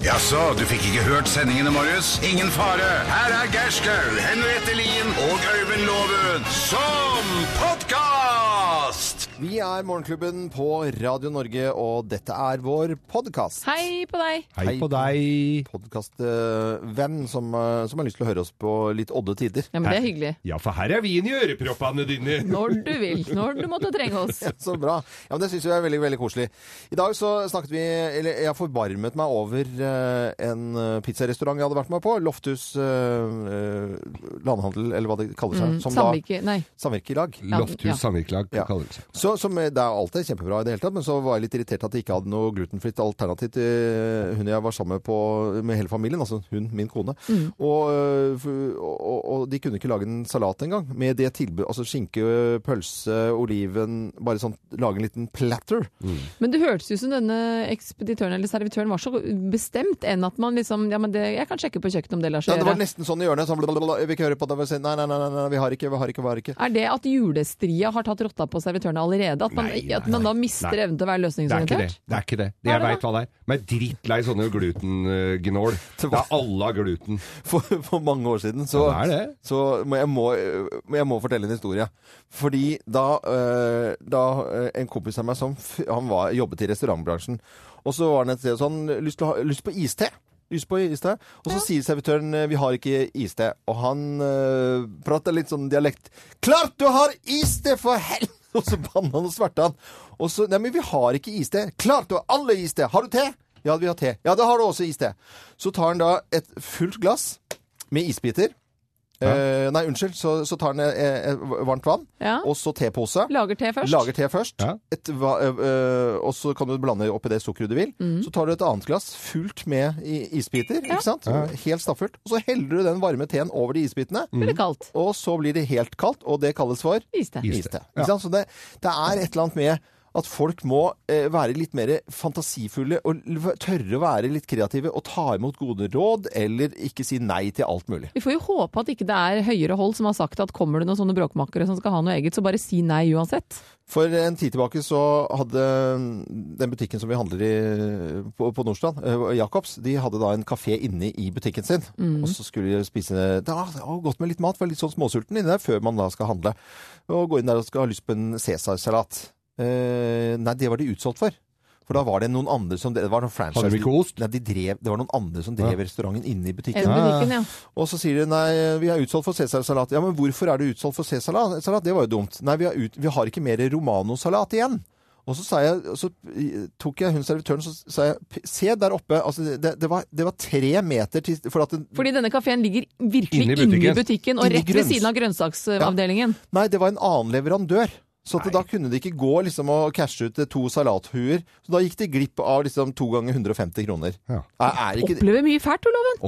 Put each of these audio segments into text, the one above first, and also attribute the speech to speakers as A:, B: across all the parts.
A: Jaså, du fikk ikke hørt sendingene, Marius? Ingen fare. Her er Gerskaug, Henriette Lien og Øyvind Loven som podkast!
B: Vi er Morgenklubben på Radio Norge, og dette er vår podkast.
C: Hei på deg!
B: Hei
D: Hei på deg.
B: Podkastvenn som, eh, som har lyst til å høre oss på litt odde tider.
C: Ja, men det er hyggelig.
D: Ja, for her er vin i øreproppene dine.
C: Når du vil. Når du måtte trenge oss.
B: Så bra. Ja, men Det syns jeg er veldig veldig koselig. I dag så snakket vi Eller jeg forbarmet meg over eh, en eh, pizzarestaurant jeg hadde vært med på. Lofthus eh, eh, landhandel, eller hva det kaller seg.
C: Mm,
B: som
C: Samvirke Nei.
B: da Samvirkelag.
C: Ja.
D: Lofthus samvirkelag
B: Ja.
D: kaller det seg.
B: Så, som, eh, det er alt er kjempebra i det hele tatt, men så var jeg litt irritert at de ikke hadde noe glutenfritt alternativ til eh, hun jeg var sammen med på, med hele familien, altså hun, min kone. Og, øh, f- og, og de kunne ikke lage en salat engang, med det tilbudet, altså skinke, pølse, oliven, bare sånn, lage en liten platter.
C: Men det hørtes ut som denne ekspeditøren eller servitøren var så bestemt enn at man liksom Ja, men det, jeg kan sjekke på kjøkkenet om det lar
B: Ja,
C: seg
B: det var
C: gjøre.
B: nesten sånn i hjørnet, sånn, blablabla, jeg vil ikke høre på det, jeg vil si, nei, nei, nei, nei, nei, vi har ikke, vi har ikke, vi har ikke.
C: Er det at julestria har tatt rotta på servitørene allerede? At man,
D: Nei, nei,
C: at man da mister
D: nei.
C: evnen til å være
D: Det er ikke det.
C: løsningsorientert?
D: det, er ikke det.
C: er
D: Jeg
C: det
D: veit hva det er. Men jeg er drittlei sånne glutengnål. Det er alle har gluten.
B: for, for mange år siden så,
D: Ja, det er det.
B: så må jeg, må, men jeg må fortelle en historie. Fordi da, eh, da eh, en kompis av meg som f- han var, jobbet i restaurantbransjen, og så var han et sted sånn lyst, til å ha, lyst på iste. Lyst på iste. Og så sier servitøren eh, 'vi har ikke iste', og han eh, prater litt sånn dialekt. 'Klart du har iste, for helvete!' Og så banna han og svarte han. Og så 'nei, men vi har ikke iste'. 'Klart du har alle iste'. 'Har du te?' Ja, vi har te. Ja, da har du også iste. Så tar han da et fullt glass med isbiter. Eh, nei, unnskyld. Så, så tar han eh, eh, varmt vann,
C: Ja.
B: og så tepose.
C: Lager te først?
B: Lager te først,
D: Ja.
B: et, va- eh, eh, og så kan du blande oppi det sukkeret du vil.
C: Mhm.
B: Så tar du et annet glass fullt med i, isbiter, ikke sant? helt stappfullt. Og så heller du den varme teen over de isbitene,
C: Blir det kaldt?
B: og så blir det helt kaldt, og det kalles for
C: Iste.
D: Iste.
B: iste. Ikke sant? Så det, det er et eller annet med at folk må eh, være litt mer fantasifulle og l- v- tørre å være litt kreative og ta imot gode råd, eller ikke si nei til alt mulig.
C: Vi får jo håpe at ikke det er høyere hold som har sagt at kommer det noen sånne bråkmakere som skal ha noe eget, så bare si nei uansett.
B: For en tid tilbake så hadde mm, den butikken som vi handler i på, på Nordstrand, eh, Jacobs, de hadde da en kafé inne i butikken sin. Og så skulle de spise Det har det har gått med litt mat, var litt sånn småsulten inne der før man da skal handle. Og gå inn der og skal ha lyst på en cæsarsalat. Eh, nei, det var de utsolgt for. For da var det noen andre som Det var noen franchise...
D: Hadde de ikke ost?
B: Nei, de drev, det var noen andre som drev restauranten inne i butikken.
C: Eller butikken, ja.
B: Og så sier de nei, vi er utsolgt for cæsarsalat. Ja, men hvorfor er det utsolgt for cæsarsalat? Salat, Det var jo dumt. Nei, vi har, ut, vi har ikke mer romanosalat igjen. Og så, sa jeg, og så eh, tok jeg hun servitøren så sa jeg, "P- se der oppe, altså det, det, var, det var tre meter til for at den,
C: Fordi denne kafeen ligger virkelig
D: Inne
C: inne
D: i
C: i
D: butikken.
C: butikken, og
B: Inne i
C: rett ved
B: grønns-
C: siden av grønnsaksavdelingen.
B: Nei, det var en annen leverandør. Så at da kunne de ikke gå liksom, og cashe ut eh, to salathuer. Så da gikk de glipp av liksom, to ganger 150 kroner.
D: Ja.
B: Er, er, ikke,
C: Opplever mye fælt, Olaven.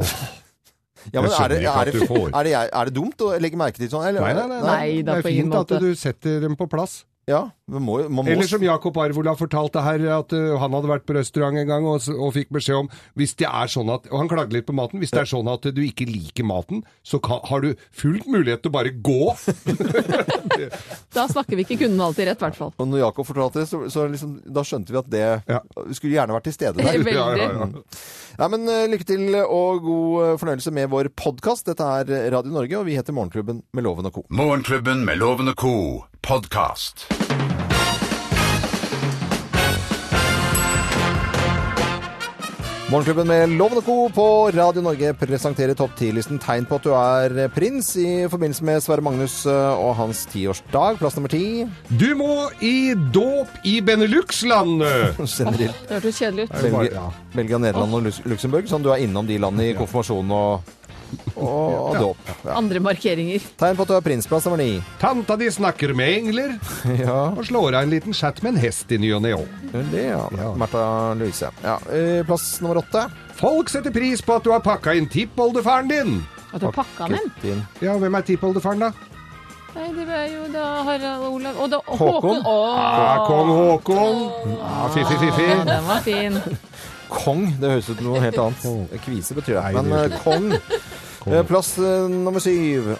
B: ja, men,
D: Jeg
B: er, det,
D: skjønner ikke
B: er,
D: at du
B: det,
D: får.
B: er, det, jeg- er det dumt å legge merke til sånn? Eller,
D: Nei, nei, nei. nei.
C: Nei, da
D: det er
C: på ingen
D: fint at
C: måte.
D: du setter dem på plass.
B: Ja, man må, man må
D: Eller som Jakob Arvola fortalte her, at ø, han hadde vært på restaurant en gang og, s- og fikk beskjed om hvis det er sånn at, Og han klagde litt på maten. Hvis det er sånn at du ikke liker maten, så kan, har du fullt mulighet til å bare gå.
C: Da snakker vi ikke kunden alltid rett, i hvert fall.
B: Og når Jakob fortalte det, så, så liksom, da skjønte vi at det
D: Ja.
B: Vi skulle gjerne vært til stede der.
C: Veldig.
B: Nei, men eh, Lykke til og god eh, fornøyelse med vår podkast. Dette er Radio Norge, og vi heter Morgenklubben med Loven og co.
A: Morgenklubben med Loven og co. podkast.
B: Morgenklubben med Loven og co. på Radio Norge presenterer topp 10-listen tegn på at du er eh, prins i forbindelse med Sverre Magnus eh, og hans tiårsdag. Plass nummer ti.
D: Du må i dåp i Benelux-landet!
B: Generelt
C: Det hørtes kjedelig ut.
B: Belgia,
D: Ja.
B: Belgia, Nederland og Lus- Luxembourg. Sånn du er innom de landene i konfirmasjon og, og, og dåp. Ja.
C: Andre markeringer.
B: Tegn på at du er prins. Plass nummer ni.
D: Tanta di snakker med engler
B: Ja.
D: og slår av en liten chat med en hest i ny og ne òg.
B: Det, ja.
D: Ja.
B: Martha Louise. Ja. eh, Plass nummer åtte.
D: Folk setter pris på at du har pakka inn tippoldefaren din.
C: At du pakka den?
B: Din.
D: Ja, hvem er tippoldefaren, da?
C: Nei, det var jo da Harald Olav Og da
B: Håkon.
C: Håkon. Å,
D: Ah, kong Haakon. Ah, fiffi, fiffi.
C: ja, den var fin.
B: Kong. Det høres ut som noe helt annet. Kvise betyr det.
D: Nei, det
B: Men
D: gjør
B: eh, kong. Eh, Plass eh, nummer syv.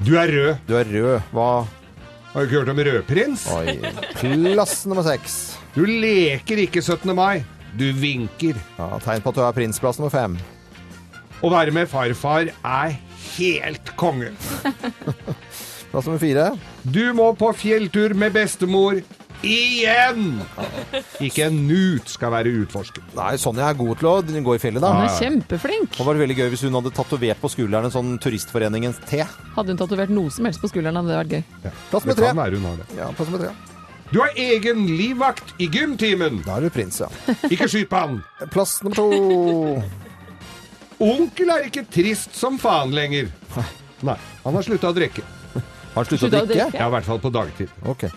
D: Du er rød.
B: Du er rød. Hva
D: Har du ikke hørt om rødprins?
B: Oi. Plass nummer seks.
D: Du leker ikke 17. mai. Du vinker.
B: Ja, tegn på at du er prinsplass nummer fem.
D: Å være med farfar er helt konge.
B: Plass nummer fire.
D: Du må på fjelltur med bestemor igjen! Ikke en nut skal være utforsket.
B: Nei, Sonja er god til å gå i fjellet,
C: Hun
B: da.
C: er kjempeflink.
B: Det var veldig gøy hvis hun hadde tatovert på skulderen en sånn Turistforeningens T.
C: Hadde hun tatovert noe som helst på skulderen, hadde det vært gøy.
B: Plass
D: Det
B: nummer tre.
D: kan være hun har det.
B: Ja, plass nummer tre.
D: Du har egen livvakt i gymtimen.
B: Da er du prins, ja.
D: Ikke skyt på han.
B: Plass nummer to.
D: Onkel er ikke trist som faen lenger. Nei, han har slutta å drikke.
B: Har han sluttet å
C: Slutta å
B: drikke?
C: drikke?
D: Ja, i hvert fall på dagtid.
B: Ok.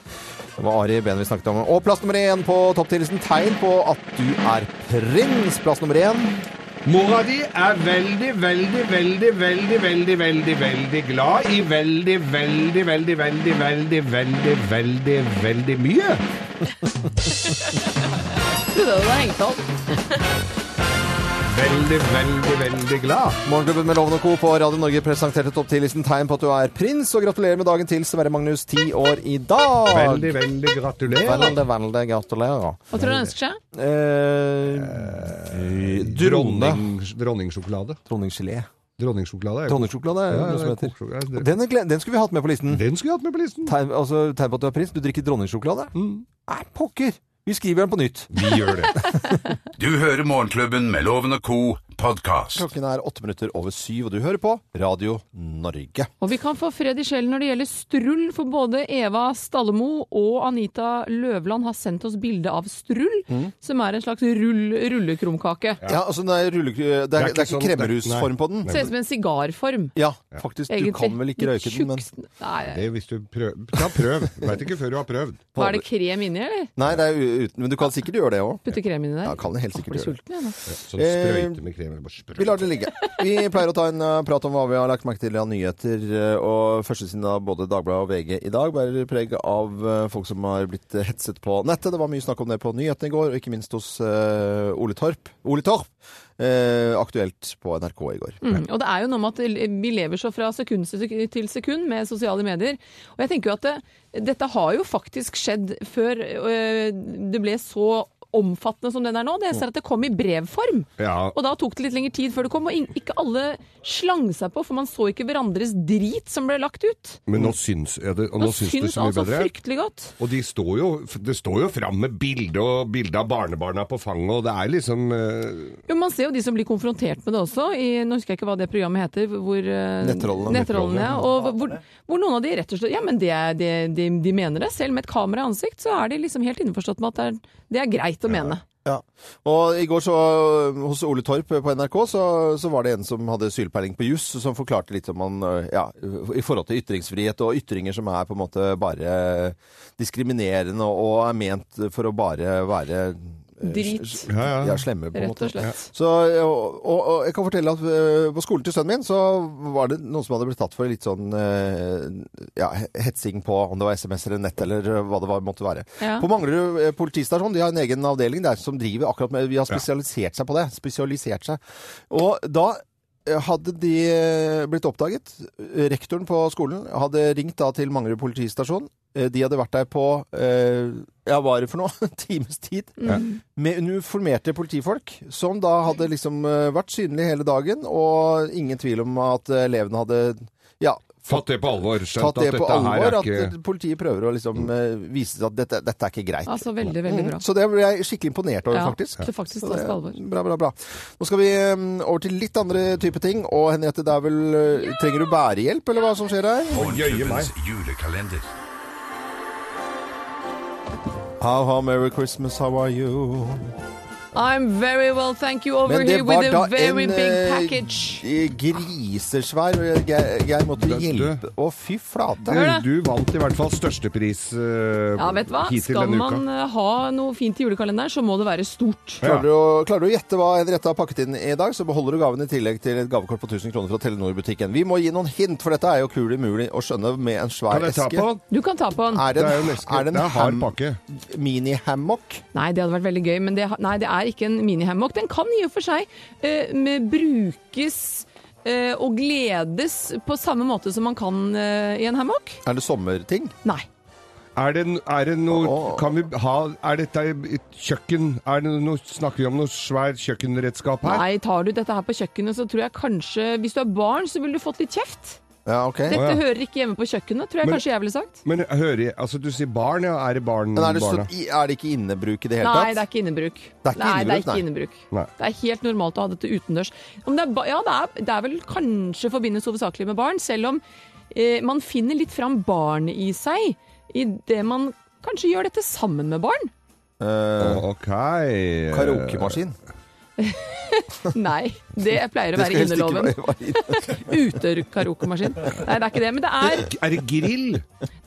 B: Det var Ari Behn vi snakket om. Og plass nummer én på topptillitsen. Tegn på at du er prins. Plass nummer én.
D: Mora di er veldig, veldig, veldig, veldig, veldig, veldig, veldig glad i veldig, veldig, veldig, veldig, veldig, veldig, veldig, veldig mye.
C: Trodde det var hengt opp.
D: Veldig, veldig, veldig glad.
B: Morgenklubben med Loven og Co. på Radio Norge presenterte topptillitsen tegn på at du er prins, og gratulerer med dagen til Sverre Magnus, ti år i dag.
D: Veldig, veldig gratulerer.
B: Veldig, veldig gratulerer.
C: Hva tror du han ønsker seg?
B: Eh, dronne.
D: Dronning, dronningsjokolade.
B: Dronninggelé.
D: Dronningsjokolade er jo
B: Dronningssjokolade er jo
D: Ja,
B: noe som
D: det er
B: heter.
D: kokesjokolade.
B: Og Den, er gle- den skulle vi hatt med på listen.
D: Den skulle jeg hatt med på listen.
B: Tegn, altså, tegn på at du er prins. Du drikker dronningssjokolade?
D: Mm.
B: Nei, pokker! Vi skriver den på nytt.
D: Vi gjør det.
A: Du hører Morgenklubben med Loven og Co. podkast.
B: Klokken er åtte minutter over syv, og du hører på Radio Norge.
C: Og vi kan få fred i sjelen når det gjelder strull, for både Eva Stallemo og Anita Løvland har sendt oss bilde av strull, som er en slags rull, rullekrumkake.
B: Mm. Ja, altså den er rulle, det, er, det er ikke
D: sånn-
B: kremmerhusform på den.
C: Ser ut som en sigarform,
B: Ja, faktisk. Du
C: egentlig.
B: kan vel ikke
C: Litt
B: røyke den, men
C: tjukst- Nei,
D: Det er hvis du prøver. Ta prøv. Veit ikke før du har prøvd.
C: hva er det krem inni, eller?
B: Nei, det er u- uten, men du kan sikkert gjøre det òg.
C: Putte krem inni der?
B: Ja, kan det helt sikkert
C: blir
B: gjøre.
C: sulten, jeg nå.
D: Sånn sprøyte med krem. eller bare
B: Vi
D: sprøyte.
B: lar det ligge. Vi pleier å ta en eh, prat om hva vi har lagt merke til av nyheter. eh, Og førstesiden av både Dagbladet og VG i dag bærer preg av eh, folk som har blitt eh, hetset på nettet. Det var mye snakk om det på nyhetene i går, og ikke minst hos eh, Ole Torp. Ole Torp! eh, aktuelt på NRK i går.
C: Mm. Og det er jo noe med at vi lever så fra sekund til sek- til sekund med sosiale medier. Og jeg tenker jo at det, dette har jo faktisk skjedd før øh, det ble så omfattende som den er nå. Det jeg
B: Mm.
C: ser at det kom i brevform.
D: Ja.
C: Og da tok det litt lengre tid før det kom, og in- ikke alle slang seg på, for man så ikke hverandres drit som ble lagt ut.
D: Men nå syns, ja, det, og
C: Nå,
D: nå syns du
C: syns
D: så mye
C: altså
D: bedre.
C: fryktelig godt.
D: Og de står jo, det står jo fram med bilde og bilde av barnebarna på fanget, og det er liksom eh,
C: Jo, Man ser jo de som blir konfrontert med det også. I, nå husker jeg ikke hva det programmet heter. Hvor, eh,
B: Nettrollene.
C: Nettrollene, ja. Og hvor, hvor noen av de rett og slett Ja, men det, er- det, de, de mener det. Selv med et kamera i ansikt, så er de liksom helt innforstått med at det er, det er greit å mene.
B: Ja. Og i går så, hos Ole Torp på NRK, så, så var det en som hadde sylpeiling på juss, som forklarte litt om han, øh, ja, i forhold til ytringsfrihet og ytringer som er på en måte bare diskriminerende og er ment for å bare være eh,
C: Drit.
B: s- s-
D: Ja, ja.
B: Ja, slemme, på en
C: Rett
B: måte.
C: og slett.
B: Så, og, og, og jeg kan fortelle at eh, på skolen til sønnen min så var det noen som hadde blitt tatt for litt sånn eh, ja, hetsing på om det var SMS eller nett eller hva det var, måtte være.
C: Ja.
B: På Manglerud eh, politistasjon, de har en egen avdeling der som driver akkurat med Vi har spesialisert seg på det. Spesialisert seg. Og da eh, hadde de eh, blitt oppdaget. eh, Rektoren på skolen hadde ringt da til Manglerud politistasjon. Eh, De hadde vært der på eh, ja, hva er det for noe? En times tid. Med uniformerte politifolk, som da hadde liksom eh, vært synlige hele dagen. Og ingen tvil om at eh, elevene hadde ja,
D: Tatt det på alvor. Skjønt
B: tatt det
D: at
B: på
D: dette
B: alvor.
D: her er
B: At eh,
D: ikke
B: politiet prøver å liksom eh, vise at dette, dette er ikke greit. Mm.
C: Altså veldig, veldig bra.
B: Så det ble jeg skikkelig imponert over,
C: Ja,
B: faktisk.
C: det faktisk
B: Så
C: tas på alvor.
B: Bra, bra, bra. Nå skal vi eh, over til litt andre type ting. Og Henriette, det er vel eh, Trenger du bærehjelp, eller hva som skjer her?
D: jøye meg.
A: Morgenklubbens julekalender.
B: How, how, merry Christmas, how are you?
C: I'm very well, thank you, over
B: Men det
C: here
B: var
C: with
B: da
C: a very
B: en,
C: big
B: eh,
C: package.
B: Grisesvær. Geir Geir måtte
D: Død, død.
B: hjelpe. Å, fy flate.
D: Du,
C: Hør da.
D: du vant i hvert fall størstepris eh,
C: Ja, vet du hva?
D: hittil
C: Skal
D: denne
C: man
D: uka.
C: eh, ha noe fint i julekalenderen, så må det være stort.
D: Ja.
B: Klarer du, å, klarer du å gjette hva Henriette har pakket inn i dag, så beholder du gaven i tillegg til et gavekort på 1000 kroner fra Telenor-butikken. Vi må gi noen hint, for dette er jo kul umulig å skjønne med en svær
D: Kan jeg ta
B: eske.
D: på?
C: Du kan ta på den.
B: Er
D: Det
B: det
D: er jo
B: en,
D: nesten
B: er det
D: det
B: en
D: er hard
B: ham-
D: pakke.
B: mini-hammock?
C: Nei, det hadde vært veldig gøy, men det, ha- nei, det er ikke en minihammock. Den kan i og for seg eh, med, brukes eh, og gledes på samme måte som man kan eh, i en hammock.
B: Er det sommerting?
C: Nei.
D: Er det, er det noe
B: Å.
D: Kan vi ha Er dette et kjøkken? Er det noe, snakker vi om noe svær kjøkkenredskap her?
C: Nei, tar du dette her på kjøkkenet, så tror jeg kanskje Hvis du er barn, så ville du fått litt kjeft.
B: Ja, ok.
C: Dette
D: Å, ja.
C: hører ikke hjemme på kjøkkenet, tror jeg
D: Men-
C: kanskje jeg ville sagt.
D: Men hører jeg Altså, du sier barn, ja. Er det barn,
B: Men er det,
D: barna?
B: så, i- er det ikke innebruk i det hele tatt?
C: Nei, det er ikke innebruk.
B: Det er ikke
C: nei, det
B: innebruk,
C: er ikke
B: nei.
C: innebruk.
D: Nei.
C: Det er helt normalt å ha dette utendørs. Om det er, ba- ja, det er, det er vel kanskje forbindes hovedsakelig med barn, selv om eh, man finner litt fram barnet i seg i det man kanskje gjør dette sammen med barn.
B: Eh,
D: Ok.
B: Karaokemaskin.
C: Nei, det pleier å være
B: helst ikke
C: inneloven.
B: være- være inne.
C: Utekaraokemaskin. Nei, det er ikke det. Men det er,
D: Er det grill?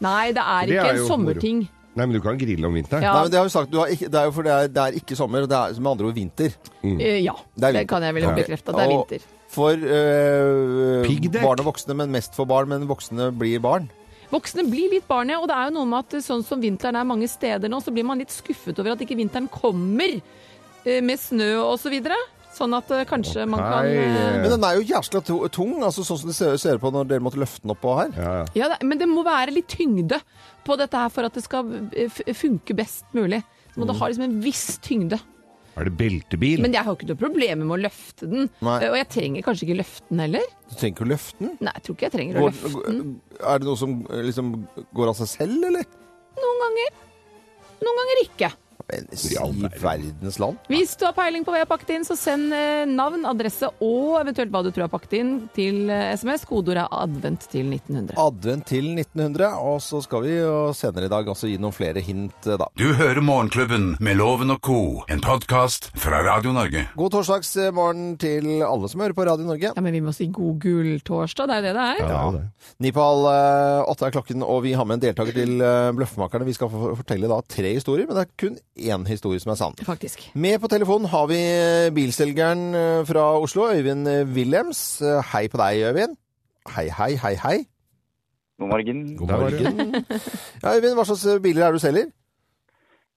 C: nei, det er
D: Det
C: ikke
D: er
C: en
D: jo
C: sommerting.
D: Nei, men du kan grille om vinteren.
C: Ja,
B: Nei, men det har vi sagt. Du har ikke, det er jo fordi det er, det er ikke sommer, og det er med andre ord vinter.
C: eh,
B: Det er
C: ja det
B: vinter.
C: kan jeg vel
B: Ok.
C: bekrefte. at Det er
B: Og
C: vinter.
B: For eh,
D: Piggdekk.
B: barn og voksne, men mest for barn. Men voksne blir barn.
C: Voksne blir litt barn, ja. Og det er jo noe med at eh, sånn som vinteren er mange steder nå, så blir man litt skuffet over at ikke vinteren kommer eh, med snø og så videre. Sånn at eh, kanskje man kan eh,
B: Men den er jo jævla to- tung, altså sånn som det ser, ser på når dere måtte løfte den oppå her.
D: Ja, ja.
C: Ja, det, men det må være litt tyngde på dette her for at det skal eh, f- funke best mulig. Så må det ha liksom en viss tyngde.
D: Er det beltebil?
C: Men jeg har jo ikke noe problem med å løfte den.
B: Nei.
C: Eh, Og jeg trenger kanskje ikke løfte den heller.
B: Du trenger ikke å løfte den.
C: Nei, jeg tror ikke jeg trenger å
B: Går,
C: løfte den.
B: er det noe som eh, liksom går av seg selv, eller?
C: Noen ganger. Noen ganger ikke.
B: Men
D: I all
B: i verdens land.
C: Hvis du har peiling på hva jeg har pakket inn, så send eh, navn, adresse og eventuelt hva du tror jeg har pakket inn til eh, SMS. Kodeord er advent til 1900.
B: Advent til 1900, og så skal vi jo senere i dag altså gi noen flere hint, eh, da.
A: Du hører Morgenklubben med Loven og co., en podkast fra Radio Norge.
B: God torsdagsmorgen til alle som hører på Radio Norge.
C: Ja, men vi må si god gulltorsdag, det er jo det det er.
D: Ja, det er det.
B: Ni på halv eh, åtte er klokken, og vi har med en deltaker til eh, Bløffmakerne. Vi skal få fortelle da tre historier, men det er kun én historie som er sann.
C: Faktisk.
B: Med på telefonen har vi bilselgeren eh, fra Oslo, Øyvind eh, Wilhelms. Eh, Hei på deg, Øyvind. Hei, hei, hei, hei.
E: God morgen.
D: Der var det.
B: Ja, Øyvind, hva slags eh, biler er det du selger?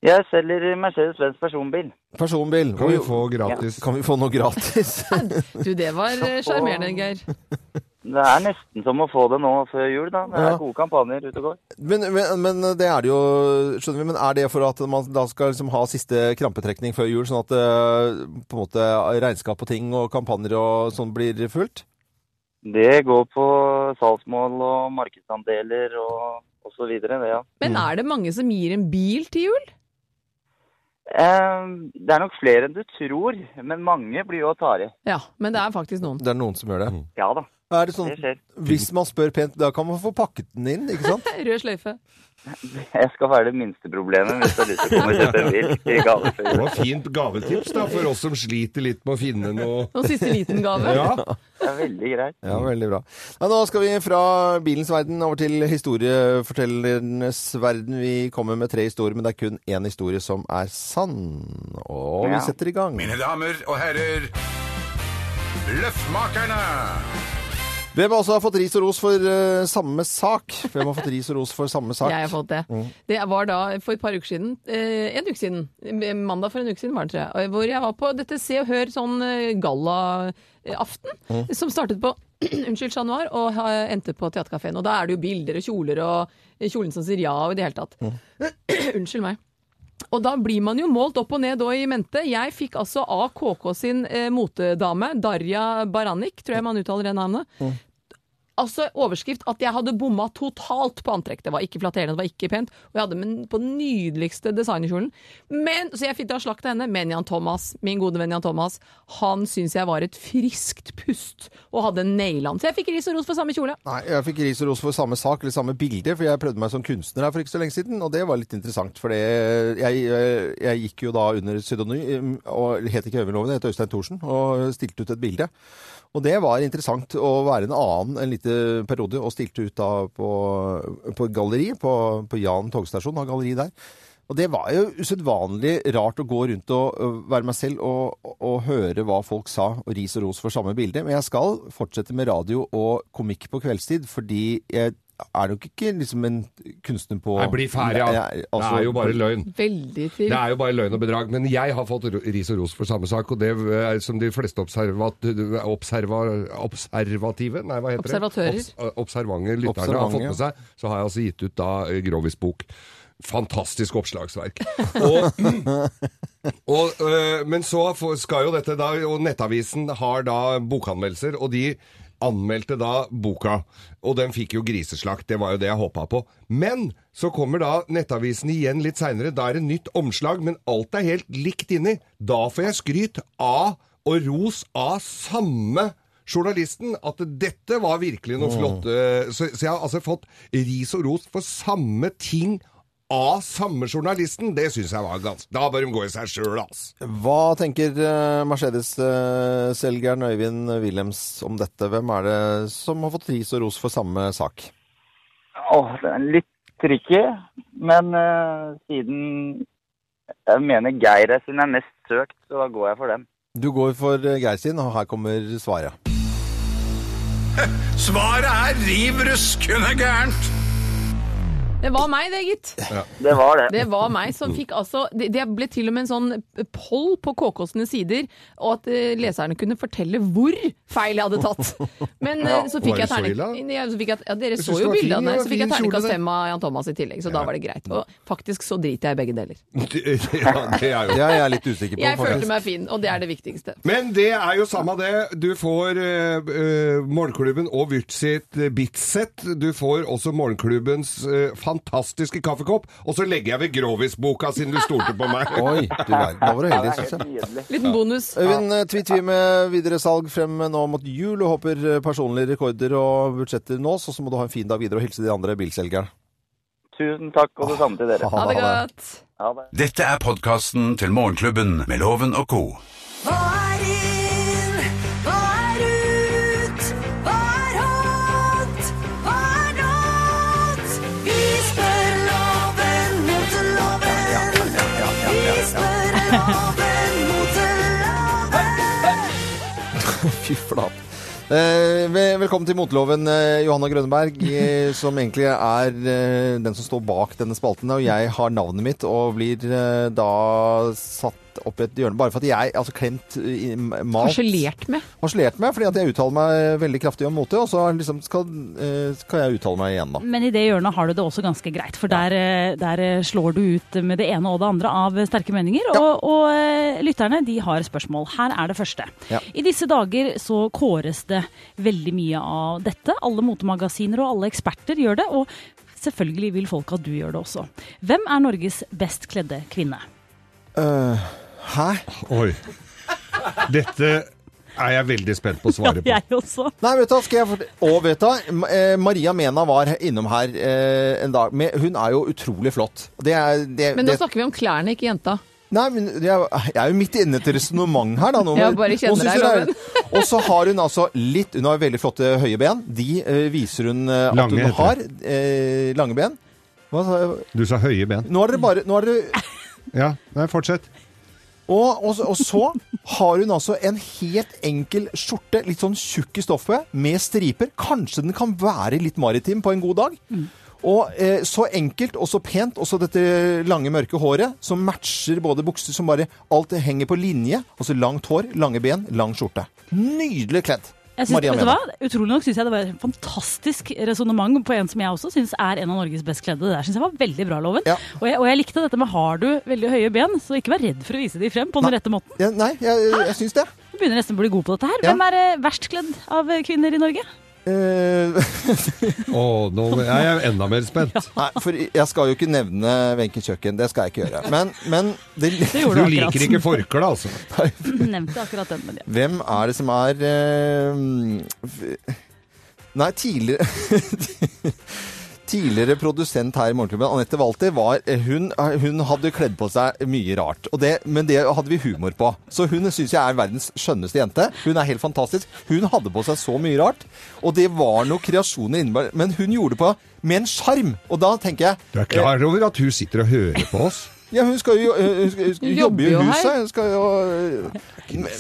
E: Jeg selger Mercedes-Benz personbil.
B: Personbil.
D: Kan vi
B: Oi,
D: få gratis?
B: kan vi få noe gratis?
C: Du, det var eh, sjarmerende, Geir.
E: Det er nesten som å få det nå før jul, da. Det er
B: Ja.
E: gode kampanjer ute og går.
B: men, men, men det er det jo, skjønner vi. Men er det for at man da skal liksom ha siste krampetrekning før jul, sånn at eh, på en måte regnskap og ting og kampanjer og sånn blir fulgt?
E: Det går på salgsmål og markedsandeler og, og så videre, det, ja.
C: Men er det mange som gir en bil til jul?
E: Eh, det er nok flere enn du tror, men mange blir jo å ta i.
C: Ja, men det er faktisk noen.
B: Det er noen som gjør det.
E: Ja da,
B: Er det sånn,
E: det skjer.
B: hvis man spør pent, da kan man få pakket den inn, ikke sant?
C: Rød sløyfe.
E: Jeg skal være det minste problemet hvis du har lyst til å komme og kjøpe en bil i gave før
D: Det
E: jul.
D: var fint gavetips da, for oss som sliter litt med å finne noe
C: Noen siste liten gave.
D: Ja,
E: Det er veldig greit.
B: Ja, veldig bra. Ja, nå skal vi fra bilens verden over til historiefortellernes verden. Vi kommer med tre historier, men det er kun én historie som er sann. Og vi
E: Ja.
B: setter i gang.
A: Mine damer og herrer, Løffmakerne!
B: Hvem har også fått ris og ros for eh, samme sak? Hvem har fått ris og ros for samme sak?
C: Jeg har fått det. Det var da for et par uker siden, eh, en uke siden, eh, mandag for en uke siden var det, tror jeg, og hvor jeg var på dette Se og Hør sånn eh, galla-aften, som startet på unnskyld, Chat Noir, og ha- endte på Theatercaféen. Og da er det jo bilder og kjoler og kjolen som sier ja, og i det hele tatt. unnskyld meg. Og da blir man jo målt opp og ned og i mente. Jeg fikk altså av KK sin eh, motedame, Darja Baranik, tror jeg man uttaler det navnet. Altså overskrift at jeg hadde bomma totalt på antrekk. Det var ikke flatterende, det var ikke pent. Og jeg hadde den på den nydeligste designerkjolen. Men, så jeg fikk da slakt av henne. Men Jan Thomas, min gode venn Jan Thomas, han syntes jeg var et friskt pust og hadde naila han. Så jeg fikk ris og ros for samme kjole.
B: Nei, jeg fikk ris og ros for samme sak, eller samme bilde, for jeg prøvde meg som kunstner her for ikke så lenge siden, og det var litt interessant, for det- jeg, jeg gikk jo da under pseudonym, og det het ikke Øyvind Loven, det het Øystein Thorsen, og stilte ut et bilde. Og det var interessant å være en annen en liten periode, og stilte ut da på, på et galleri, på, på Jan togstasjon, har galleri der. Og det var jo usedvanlig rart å gå rundt og øh, være meg selv og, og, og høre hva folk sa, og ris og ros for samme bilde. Men jeg skal fortsette med radio og komikk på kveldstid, fordi jeg er du ikke, ikke liksom en kunstner på
D: Nei, bli ferdig, ja.
B: Nei, altså,
D: det er jo bare løgn.
C: Veldig
D: Det
C: til.
D: er jo bare løgn og bedrag. Men jeg har fått ro- ris og ros for samme sak, og det er som de fleste observat, observa, observative Nei, hva heter
C: Observatører.
D: det? Obs- eh, Observante lytterne har
B: Observante,
D: fått med
B: ja.
D: seg. Så har jeg altså gitt ut da eh, Grovis bok. Fantastisk oppslagsverk. Og og, øh, men så får- skal jo dette da, og Nettavisen har da bokanmeldelser, og de anmeldte da boka, og den fikk jo griseslakt, det var jo det jeg håpet på. Men så kommer da Nettavisen igjen litt senere, da er det nytt omslag, men alt er helt likt inni. Da får jeg skryt av og ros av samme journalisten at dette var virkelig noe flott. øh, Så, så jeg har altså fått ris og ros for samme ting av samme journalisten, det syns jeg var ganske Da bør de gå i seg sjøl, ass.
B: Hva tenker eh, Mercedes-selgeren Øyvind Wilhelms om dette? Hvem er det som har fått ris og ros for samme sak?
E: Åh, det er litt tricky, men eh, siden jeg mener Geir er siden jeg er mest søkt, så da går jeg for dem.
B: Du går for eh, Geir sin, og her kommer svaret.
A: Svaret er riv ruskende gærent!
C: Det var meg, det, gitt.
E: Det var det.
C: Det var meg som fikk altså Det det ble til og med en sånn poll på KK sine sider, og at eh, leserne kunne fortelle hvor feil jeg hadde tatt. Men eh, så fikk
D: Var
C: jeg
D: det så
C: terning...
D: ille?
C: Ja, så fikk jeg, ja, dere
D: Jeg
C: så
D: synes det
C: jo
D: var fin,
C: bildet av
D: det
C: meg,
D: var
C: så fikk jeg
D: fin kjole,
C: terningkast
D: det.
C: fem av Jan Thomas i tillegg, så da var det greit. Og faktisk så driter jeg i begge deler.
D: ja, det er jo
B: Det er jeg litt usikker på.
C: Jeg følte
B: faktisk.
C: meg fin, og det er det viktigste.
D: Men det er jo samme det. Du får uh, Morgenklubben og Vyrt sitt eh, Bitsett. Du får også Morgenklubbens eh, fantastiske kaffekopp. Og så legger jeg ved Grovis-boka, siden du stolte på meg.
B: Oi, du verden. Da var du
E: Ja,
B: heldig,
E: det er
B: syns
E: helt
B: jeg.
E: nydelig.
C: Liten bonus.
B: Øyvind, eh, tvi-tvi med videre salg frem nå mot jul, og håper eh, personlige rekorder og budsjetter nås. Og så må du ha en fin dag videre, og hilse de andre bilselgerne.
E: Tusen takk, og det samme til dere.
C: Ha det godt.
E: Ha det.
A: Dette er podkasten til Morgenklubben med Loven og co.
F: Hva er inn? Hva er ut? Hva er hot? Hva er not? Vi spør loven mot loven. Vi spør loven mot loven.
B: Fy flate. Eh, vel- velkommen til Motloven, eh, Johanna Grønneberg, eh, som egentlig er eh, den som står bak denne spalten. Og jeg har navnet mitt og blir eh, da satt opp i et hjørne bare for at jeg altså klemt i mat
C: Harselert med.
B: harselert med, fordi at jeg uttaler meg eh, veldig kraftig om mote, og så liksom skal, eh, skal jeg uttale meg igjen, da.
G: Men i det hjørnet har du det også ganske greit, for der, eh, der eh, slår du ut med det ene og det andre av eh, sterke meninger. Og, og eh, lytterne de har spørsmål. Her er det første.
B: Ja.
G: I disse dager så kåres det veldig mye av dette. Alle motemagasiner og alle eksperter gjør det. Og selvfølgelig vil folk at du gjør det også. Hvem er Norges best kledde kvinne?
C: Eh,
B: Hæ?
D: Oi. Dette er jeg veldig spent på å svare på.
G: Jeg også.
B: Nei, vet du hva, skal jeg fortelle... Og vet du hva, Ma- eh, Maria Mena var innom her eh, en dag. Med, hun er jo utrolig flott. Det er, det,
C: Men altså, nå
B: det,
C: snakker vi om klærne, ikke jenta.
B: Nei, men jeg, jeg er jo midt inne i et resonnement her, da. nå.
C: Jeg bare kjenner
B: Hun synes
C: deg,
B: det er- Og så har hun altså litt Hun har veldig flotte høye ben. De eh, viser hun eh, at
D: Lange,
B: hun
D: heter det.
B: har. Eh, lange ben. Hva sa jeg?
D: Du sa høye ben.
B: Nå er dere bare nå er dere,
D: Ja, nei, fortsett.
B: og, og, så- og så har hun altså en helt enkel skjorte, litt sånn tjukk i stoffet, med striper. Kanskje den kan være litt maritim på en god dag.
G: Mm.
B: Og eh, så enkelt og så pent, og så dette lange, mørke håret som matcher både bukser som bare Alt det henger på linje. Altså langt hår, lange ben, lang skjorte. Nydelig kledd.
G: Jeg synes, vet du
B: Mena.
G: hva? Utrolig nok syns jeg det var et fantastisk resonnement på en som jeg også syns er en av Norges best kledde. Det der syns jeg var veldig bra, Loven.
B: Ja.
G: Og, jeg, og jeg likte dette med har du veldig høye ben, så ikke vær redd for å vise de frem på den
B: Nei.
G: rette måten.
B: Ja, nei, jeg, jeg syns det.
G: Du begynner nesten å bli god på dette her.
B: Ja.
G: Hvem er eh, verst kledd av eh, kvinner i Norge?
B: Eh,
D: Å, nå er jeg enda mer spent.
B: nei, for jeg skal jo ikke nevne Wenche Kjøkken. Det skal jeg ikke gjøre. Men, men det,
G: Det gjorde
D: Du
G: du,
D: liker
G: akkurat.
D: ikke forkle, altså.
G: Nevnte akkurat den, men ja.
B: Hvem er det som er eh, f- Nei, tidligere Tidligere produsent her i Morgenklubben, Anette Walter, var, eh, hun, hun hadde kledd på seg mye rart. Og det, men det hadde vi humor på. Så hun syns jeg er verdens skjønneste jente. Hun er helt fantastisk. Hun hadde på seg så mye rart. Og det var noen kreasjoner innebær, men hun gjorde det på med en sjarm. Og da tenker jeg
D: Du er klar over at hun sitter og hører på oss?
B: Ja, hun skal jo øh, hun skal, hun skal,
C: Hun
B: jobbe i
C: jobber jo
B: huset.
C: her.
B: Hun skal jo øh,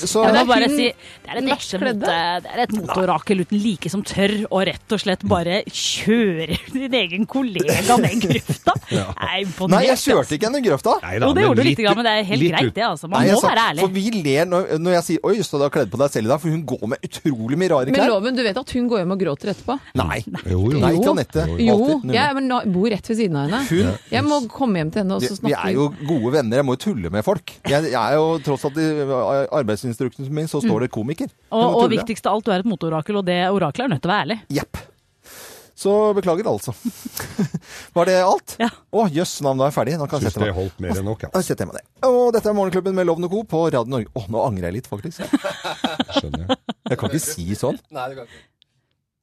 B: Så
C: det
G: Jeg må
C: er
G: bare
C: hun
G: si, det er en
C: verst
G: ekte
C: kledde.
G: mote, det er et motorakel uten like som tør å rett og slett bare kjøre din egen kollega ned i grøfta. Jeg er imponert.
B: Nei, jeg kjørte ikke henne i grøfta.
D: Nei
G: Jo, det
D: men
G: gjorde du
D: litt-
G: lite grann, men det er helt
D: litt
G: greit
D: ut-
G: det, altså. Man
B: Nei,
G: må
B: altså,
G: være ærlig.
B: For vi ler når, når jeg sier 'oi, så du har kledd på deg selv i dag', for hun går med utrolig mye rare
C: Men
B: klær.
C: loven, du vet at hun går hjem og gråter etterpå?
B: Nei.
G: altså.
D: Jo, jo.
B: Nei, ikke Anette.
C: Jo,
B: Alltid. Null.
C: jeg men, nå- bor rett ved siden av henne.
B: Hun
C: Jeg må komme hjem til henne og så
B: Vi
C: snakke
B: er jo gode venner, jeg må jo tulle med folk. Jeg, jeg er jo, tross alt i arbeidsinstruksen min, så står det komiker. Jeg
G: Mm. Og,
B: må
G: og
B: tulle.
G: viktigst av alt, du er et motorakel, og det orakelet er nødt til å være ærlig.
B: Jepp. Så beklager, altså. Var det alt?
G: Ja.
B: Å, jøss, nå er jeg ferdig. Nå kan jeg
D: Syns
B: sette
D: det
B: meg.
D: holdt mer enn nok, ja.
B: Da setter jeg meg ned. Og dette er Morgenklubben med Lovende Co. på Radio Norge. Å, nå angrer jeg litt, faktisk.
D: Skjønner jeg.
B: Jeg kan ikke si sånn.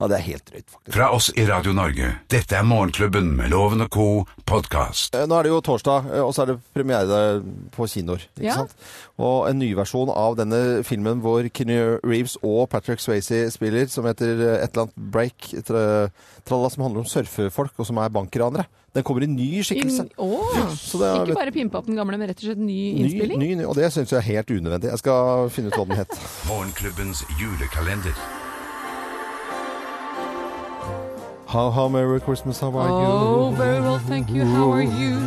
B: Ja, det er helt drøyt, faktisk.
A: Fra oss i Radio Norge. Dette er Morgenklubben med Loven og Co. podkast.
B: Eh, Nå er det jo torsdag, eh, og så er det premiere på kinoer. Ikke
C: Ja.
B: sant? Og en ny versjon av denne filmen hvor Keanu Reeves og Patrick Swayze spiller, som heter eh, et eller annet Break, tra- tralla, som handler om surfefolk, og som er bankranere. Den kommer i ny skikkelse.
C: Åh,
B: Så det er
C: Ikke bare pimpe opp den gamle, men rett og slett ny
B: Ny,
C: innspilling?
B: ny, ny, og det syns jeg er helt unødvendig. Jeg skal finne ut hva den het.
A: Morgenklubbens julekalender.
B: How, how merry Christmas, how are
C: Oh,
B: you?
C: very well, thank you. How are you?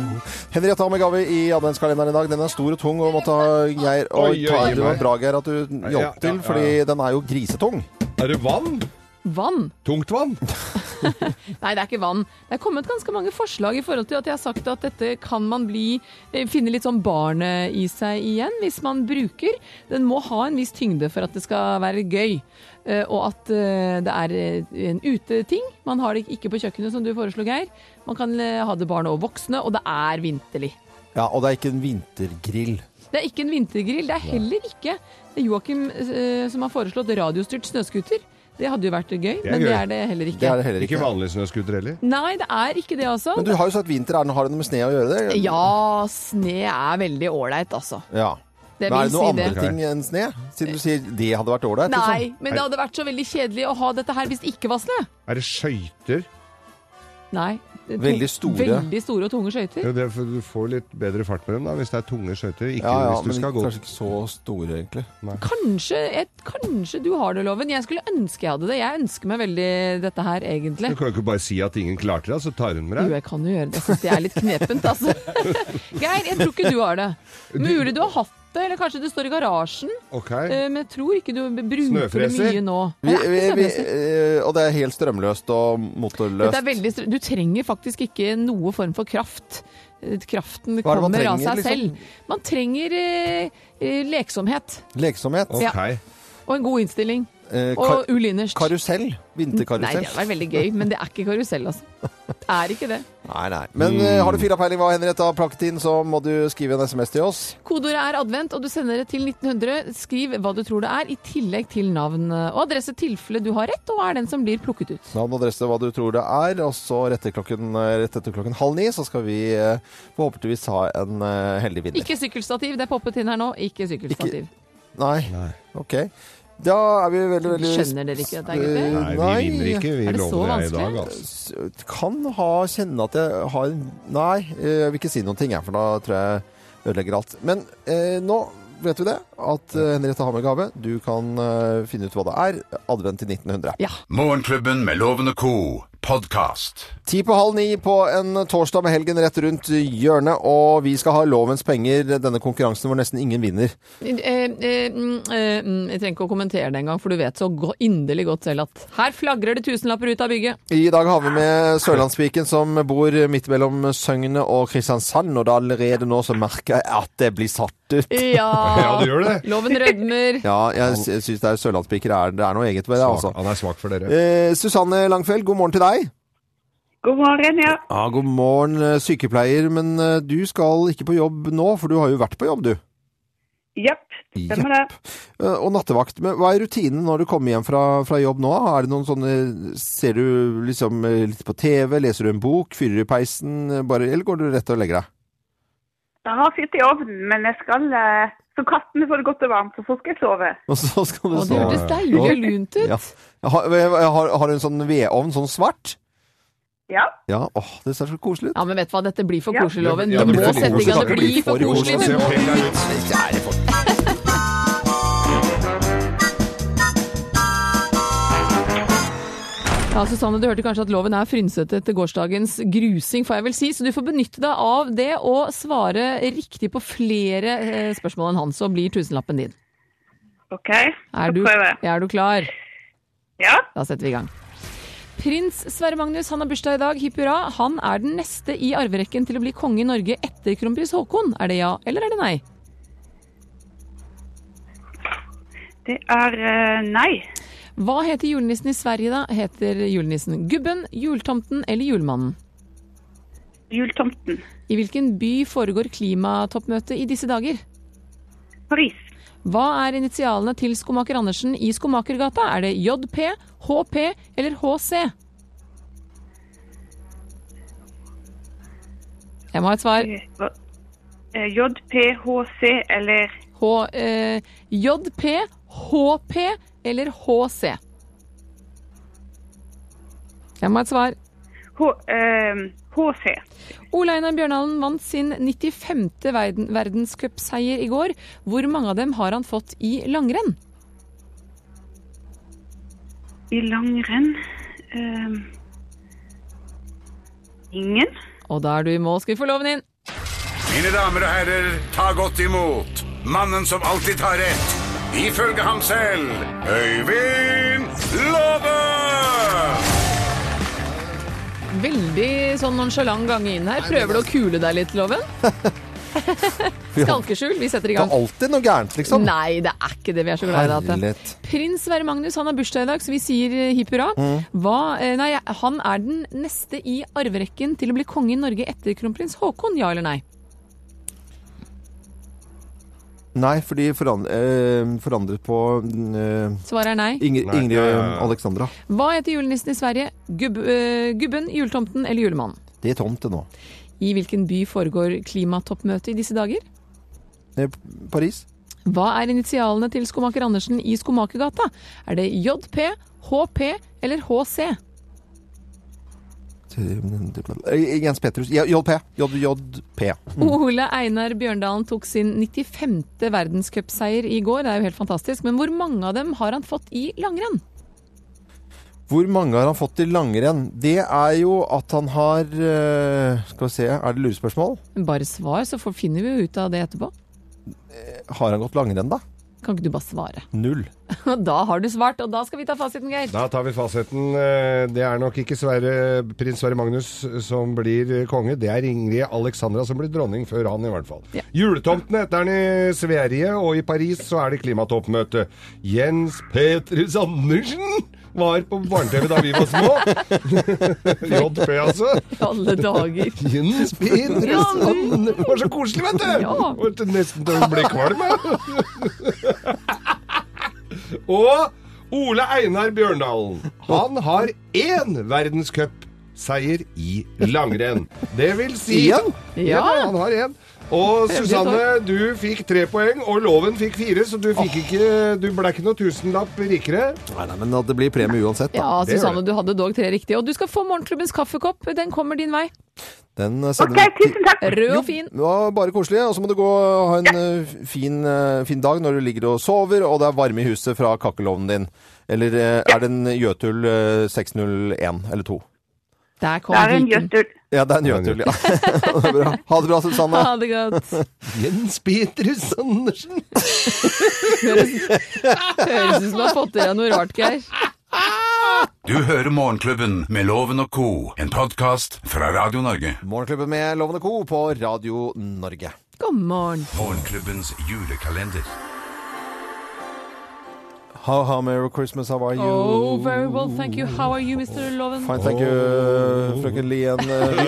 B: Henriette har med gave i adventskalenderen i dag. Den er stor og tung, og måtte ha Geir og
D: Oi, oi,
B: ta, Det var
D: meg.
B: bra, Geir, at du
D: Ja, ja,
B: hjalp til,
D: ja.
B: fordi den er jo grisetung.
D: Er det vann?
C: Vann?
D: Tungt vann?
C: Nei, det er ikke vann. Det er kommet ganske mange forslag i forhold til at jeg har sagt at dette kan man bli, eh, finne litt sånn barnet i seg igjen hvis man bruker. Den må ha en viss tyngde for at det skal være gøy. eh, Og at eh, det er eh, en uteting. Man har det ikke på kjøkkenet, som du foreslo, Geir. Man kan eh, ha det barn og voksne, og det er vinterlig.
B: Ja, og det er ikke en vintergrill.
C: Det er ikke en vintergrill. Det er heller ikke Joakim eh, som har foreslått radiostyrt snøskuter. Det hadde jo vært gøy,
D: er
C: men det
D: gøy.
C: er det heller
B: Det
C: ikke.
B: er det heller
D: Ikke
B: ikke.
D: vanlig snøscooter heller?
C: Nei, det er ikke det, altså.
B: Men du har jo sagt vinter. Er den, har det noe med sne å gjøre? Det?
C: Ja, sne er veldig åleit, altså.
B: ja.
C: Det
B: Men er
C: vil
B: det noen
C: si det.
B: andre ting enn sne? Siden du sier det hadde vært ålreit. liksom?
C: Nei, men det hadde vært så veldig kjedelig å ha dette her hvis det ikke var snø.
D: Er det skøyter?
C: Nei. det-
B: Veldig store.
C: Veldig store og tunge
D: Jo,
C: skøyter.
D: det er for- Du får litt bedre fart med dem da, hvis det er tunge skøyter. Ikke
B: Ja, ja,
D: hvis du
B: men
D: skal gå
B: kanskje ikke så store, egentlig.
C: Kanskje, et, kanskje du har det, Loven. Jeg skulle ønske jeg hadde det. Jeg ønsker meg veldig dette her,
D: Du
C: egentlig.
D: kan jo ikke bare si at ingen klarte det, så tar hun med
C: Jo,
D: deg.
C: jeg kan jo gjøre det. Jeg syns det er litt knepent, altså. Geir, jeg tror ikke du har det. Mulig du har hatt det, eller kanskje det står i garasjen.
D: Ok.
C: eh, Men jeg tror ikke du bruker
D: Snøfreser?
C: det mye nå.
B: Vi,
C: Det er ikke
B: vi, vi,
C: snøfreser.
B: eh, og det er helt strømløst og motorløst.
C: Dette er veldig str- du trenger faktisk ikke noe form for kraft. Eh,
B: Hva er
C: Kraften
B: det
C: kommer
B: man
C: av
B: trenger,
C: seg
B: liksom?
C: selv. Man trenger eh, eh, leksomhet
B: Leksomhet.
D: Ok.
C: og en god innstilling.
B: Eh,
C: Og
B: kar
C: ulinderst.
B: karusell.
C: Nei,
B: Vinterkarusell.
C: det hadde vært veldig gøy, men det er ikke karusell, altså. Det er ikke det.
B: Nei, nei. Men eh,
D: Mm.
B: har du fire peiling hva Henriette har plakket inn, så må du skrive en SMS til oss.
C: Kodeordet er advent, og du sender det til 1900. Skriv hva du tror det er, i tillegg til navn og adresse tilfelle du har rett, og er den som blir plukket ut.
B: Navn og adresse, hva du tror det er. Og så rett, til klokken, eh, rett etter klokken halv ni så skal vi eh, forhåpentligvis ha en eh, heldig vinner.
C: Ikke sykkelstativ, det er poppet inn her nå. Ikke sykkelstativ.
B: Nei.
D: Nei.
B: OK. Da er vi veldig, veldig
C: Skjønner dere ikke at det er
B: Eh,
C: gøy?
D: Nei,
B: Nei.
D: vi vinner ikke. Vi
C: Er det så
D: lover deg i
C: vanskelig?
D: dag, altså.
B: S- Kan ha kjenne at jeg har en Nei, eh, jeg vil ikke si noen ting, jeg, for da tror jeg ødelegger alt. Men eh, nå vet vi det, at eh, Henriette har med gave. Du kan eh, finne ut hva det er. Advent til 1900.
C: Ja.
A: Morgenklubben med Loven og Co. podkast.
B: Ti på halv ni på en torsdag med helgen rett rundt hjørnet, og vi skal ha Lovens penger, denne konkurransen hvor nesten ingen vinner.
C: Eh, eh, mm, eh, mm, Jeg trenger ikke å kommentere det engang, for du vet så go inderlig godt selv at her flagrer det tusenlapper ut av bygget.
B: I dag har vi med Sørlandspiken som bor midt mellom Søgne og Kristiansand, og da allerede nå så merker jeg at det blir satt ut.
D: Ja,
C: Ja,
D: du gjør det.
C: Loven rødmer.
B: Ja, jeg sy- syns det er Sørlandspiker er, det er noe eget ved det,
D: Svak,
B: altså.
D: han er svak for dere.
B: Eh, Susanne Langfeld, god morgen til deg.
H: God morgen, ja.
B: Ja, god morgen, eh, sykepleier, men eh, du skal ikke på jobb nå, for du har jo vært på jobb, du.
H: Jepp, stemmer det.
B: Eh, Og nattevakt. Men hva er rutinen når du kommer hjem fra, fra jobb nå? Er det noen sånne Ser du liksom eh, litt på TV, leser du en bok, fyrer du peisen, eh, bare, eller går du rett og legger deg?
H: Jeg har fyrt i ovnen, men jeg skal eh, Så kattene får det godt og varmt, og så skal jeg sove.
B: Og så skal du
C: Og det
B: sove.
C: hørtes deilig og lunt ut.
B: Ja. Har, har, har du en sånn vedovn, sånn svart?
H: Ja.
B: Ja, åh, det ser så koselig ut.
C: Ja, men vet du hva, dette blir for
H: Ja.
C: koselig, Loven.
D: Ja,
C: Du
D: det blir
C: må
D: for
C: sette i
D: koselig.
C: gang. Det
D: Det
C: blir for koselig.
B: Det
C: Det må-
B: penger ut. Det er det for-
C: Ja, Susanne, du hørte kanskje at loven er frynsete etter gårsdagens grusing, får jeg vel si. Så du får benytte deg av det og svare riktig på flere eh, spørsmål enn han, så blir tusenlappen din.
H: OK.
C: Er
H: Skal
C: du,
H: prøve.
C: er du klar?
H: Ja.
C: Da setter vi i gang. Prins Sverre Magnus han har bursdag i dag, hipp hurra. Han er den neste i arverekken til å bli konge i Norge etter kronprins Haakon. Er det ja, eller er det nei?
H: Det er eh, nei.
C: Hva heter julenissen i Sverige, da? Heter julenissen Gubben, Jultomten eller Julmannen?
H: Jultomten.
C: I hvilken by foregår klimatoppmøtet i disse dager?
H: Paris.
C: Hva er initialene til skomaker Andersen i Skomakergata? Er det JP, HP eller HC? Jeg må ha et svar.
H: Eh, hva- eh, JPHC eller
C: H, eh, JP, HP eller HC? Jeg må ha et svar.
H: H, eh, HC.
C: Ole Einar Bjørndalen vant sin 95. verden- verdenscupseier i går. Hvor mange av dem har han fått i langrenn?
H: I langrenn eh, Ingen.
C: Og da er du i mål. Skal vi få loven inn?
A: Mine damer og herrer, ta godt imot mannen som alltid tar rett. Ifølge ham selv Øyvind Låve!
C: Veldig sånn nonchalant gange inn her. Prøver du å kule deg litt, Loven? Skalkeskjul, vi setter i
B: Det er
C: gang.
B: alltid noe gærent, liksom.
C: Nei, det er ikke det vi er så glad i. at det-
B: Herlighet.
C: Prins Sverre Magnus han har bursdag i dag, så vi sier eh, hipp hurra.
B: Mm.
C: Hva- eh, Nei, han er den neste i arverekken til å bli konge i Norge etter kronprins Haakon, ja eller nei?
B: Nei, fordi foran- eh, forandret på eh,
C: Svaret er nei.
B: Inger,
D: Nei,
B: Ingrid
D: ja, ja, ja.
B: Alexandra.
C: Hva heter julenissen i Sverige? Gubb, eh, gubben, juletomten eller julemannen?
B: Det er tomt det nå.
C: I hvilken by foregår klimatoppmøtet i disse dager?
B: Eh, Paris?
C: Hva er initialene til skomaker Andersen i Skomakergata? Er det JP, HP eller HC?
B: Eh, Jens Petrus. Ja, JP. JJP.
C: Ole Einar Bjørndalen tok sin 95. verdenscupseier i går. Det er jo helt fantastisk. Men hvor mange av dem har han fått i langrenn?
B: Hvor mange har han fått i langrenn? Det er jo at han har eh, Skal vi se, er det lurespørsmål?
C: Bare svar, så får- finner vi jo ut av det etterpå.
B: Har han gått langrenn, da?
C: Kan ikke du bare svare?
B: Null.
C: Og da har du svart, og da skal vi ta fasiten, Geir.
D: Da tar vi fasiten. Eh, Det er nok ikke Sverre, prins Sverre Magnus som blir eh, konge. Det er Ingrid Alexandra som blir dronning før han, i hvert fall.
C: Ja.
D: Juletomten heter han i Sverige, og i Paris så er det klimatoppmøte. Jens Petrus Andersen var på barne-TV da vi var små. JP, altså.
C: I alle dager.
D: Jens Petrus Andersen. Det var så koselig, vet du!
C: Ja.
D: Det var til- nesten til hun ble kvalm. jeg. Og Ole Einar Bjørndalen. Han har én verdenscupseier i langrenn. Det vil si
B: Én?
C: Ja.
D: han har én. Og
C: Hevlig
D: Susanne, du fikk tre poeng, og Loven fikk fire, så du, fikk ikke, du ble ikke noe tusenlapp rikere.
B: Nei, nei, men at det blir premie uansett, da.
C: Ja,
D: det gjør
C: Susanne,
D: det.
C: du hadde dog tre riktige. Og du skal få morgenklubbens kaffekopp. Den kommer din vei.
B: Den eh,
H: OK,
B: sender vi til-
H: tusen takk.
C: Rød og fin.
B: Det var bare koselig, og så må du gå og ha en eh, fin, eh, fin dag når du ligger og sover, og det er varme i huset fra kakkelovnen din. Eller eh, er det en Jøtul eh, 601 eller 2?
C: Der kom
H: Det er en
C: Viken.
H: jøtul.
B: Ja, det er en Jøtul, ja. Det er bra. Ha det bra, Susanne.
C: Ha det godt.
D: Jens Petrus Andersen.
C: Høres ut som du har fått i deg noe rart, Geir.
A: Du hører Morgenklubben med Loven og co., en podkast fra Radio Norge.
B: Morgenklubben med Lovende Co. på Radio Norge.
C: God morgen.
A: Morgenklubbens julekalender.
B: How, how, merry Christmas, how are you?
C: Oh, very well, thank you. How are you, Mr. Loven?
B: Fine, thank you,
D: Oh.
B: frøken Lien.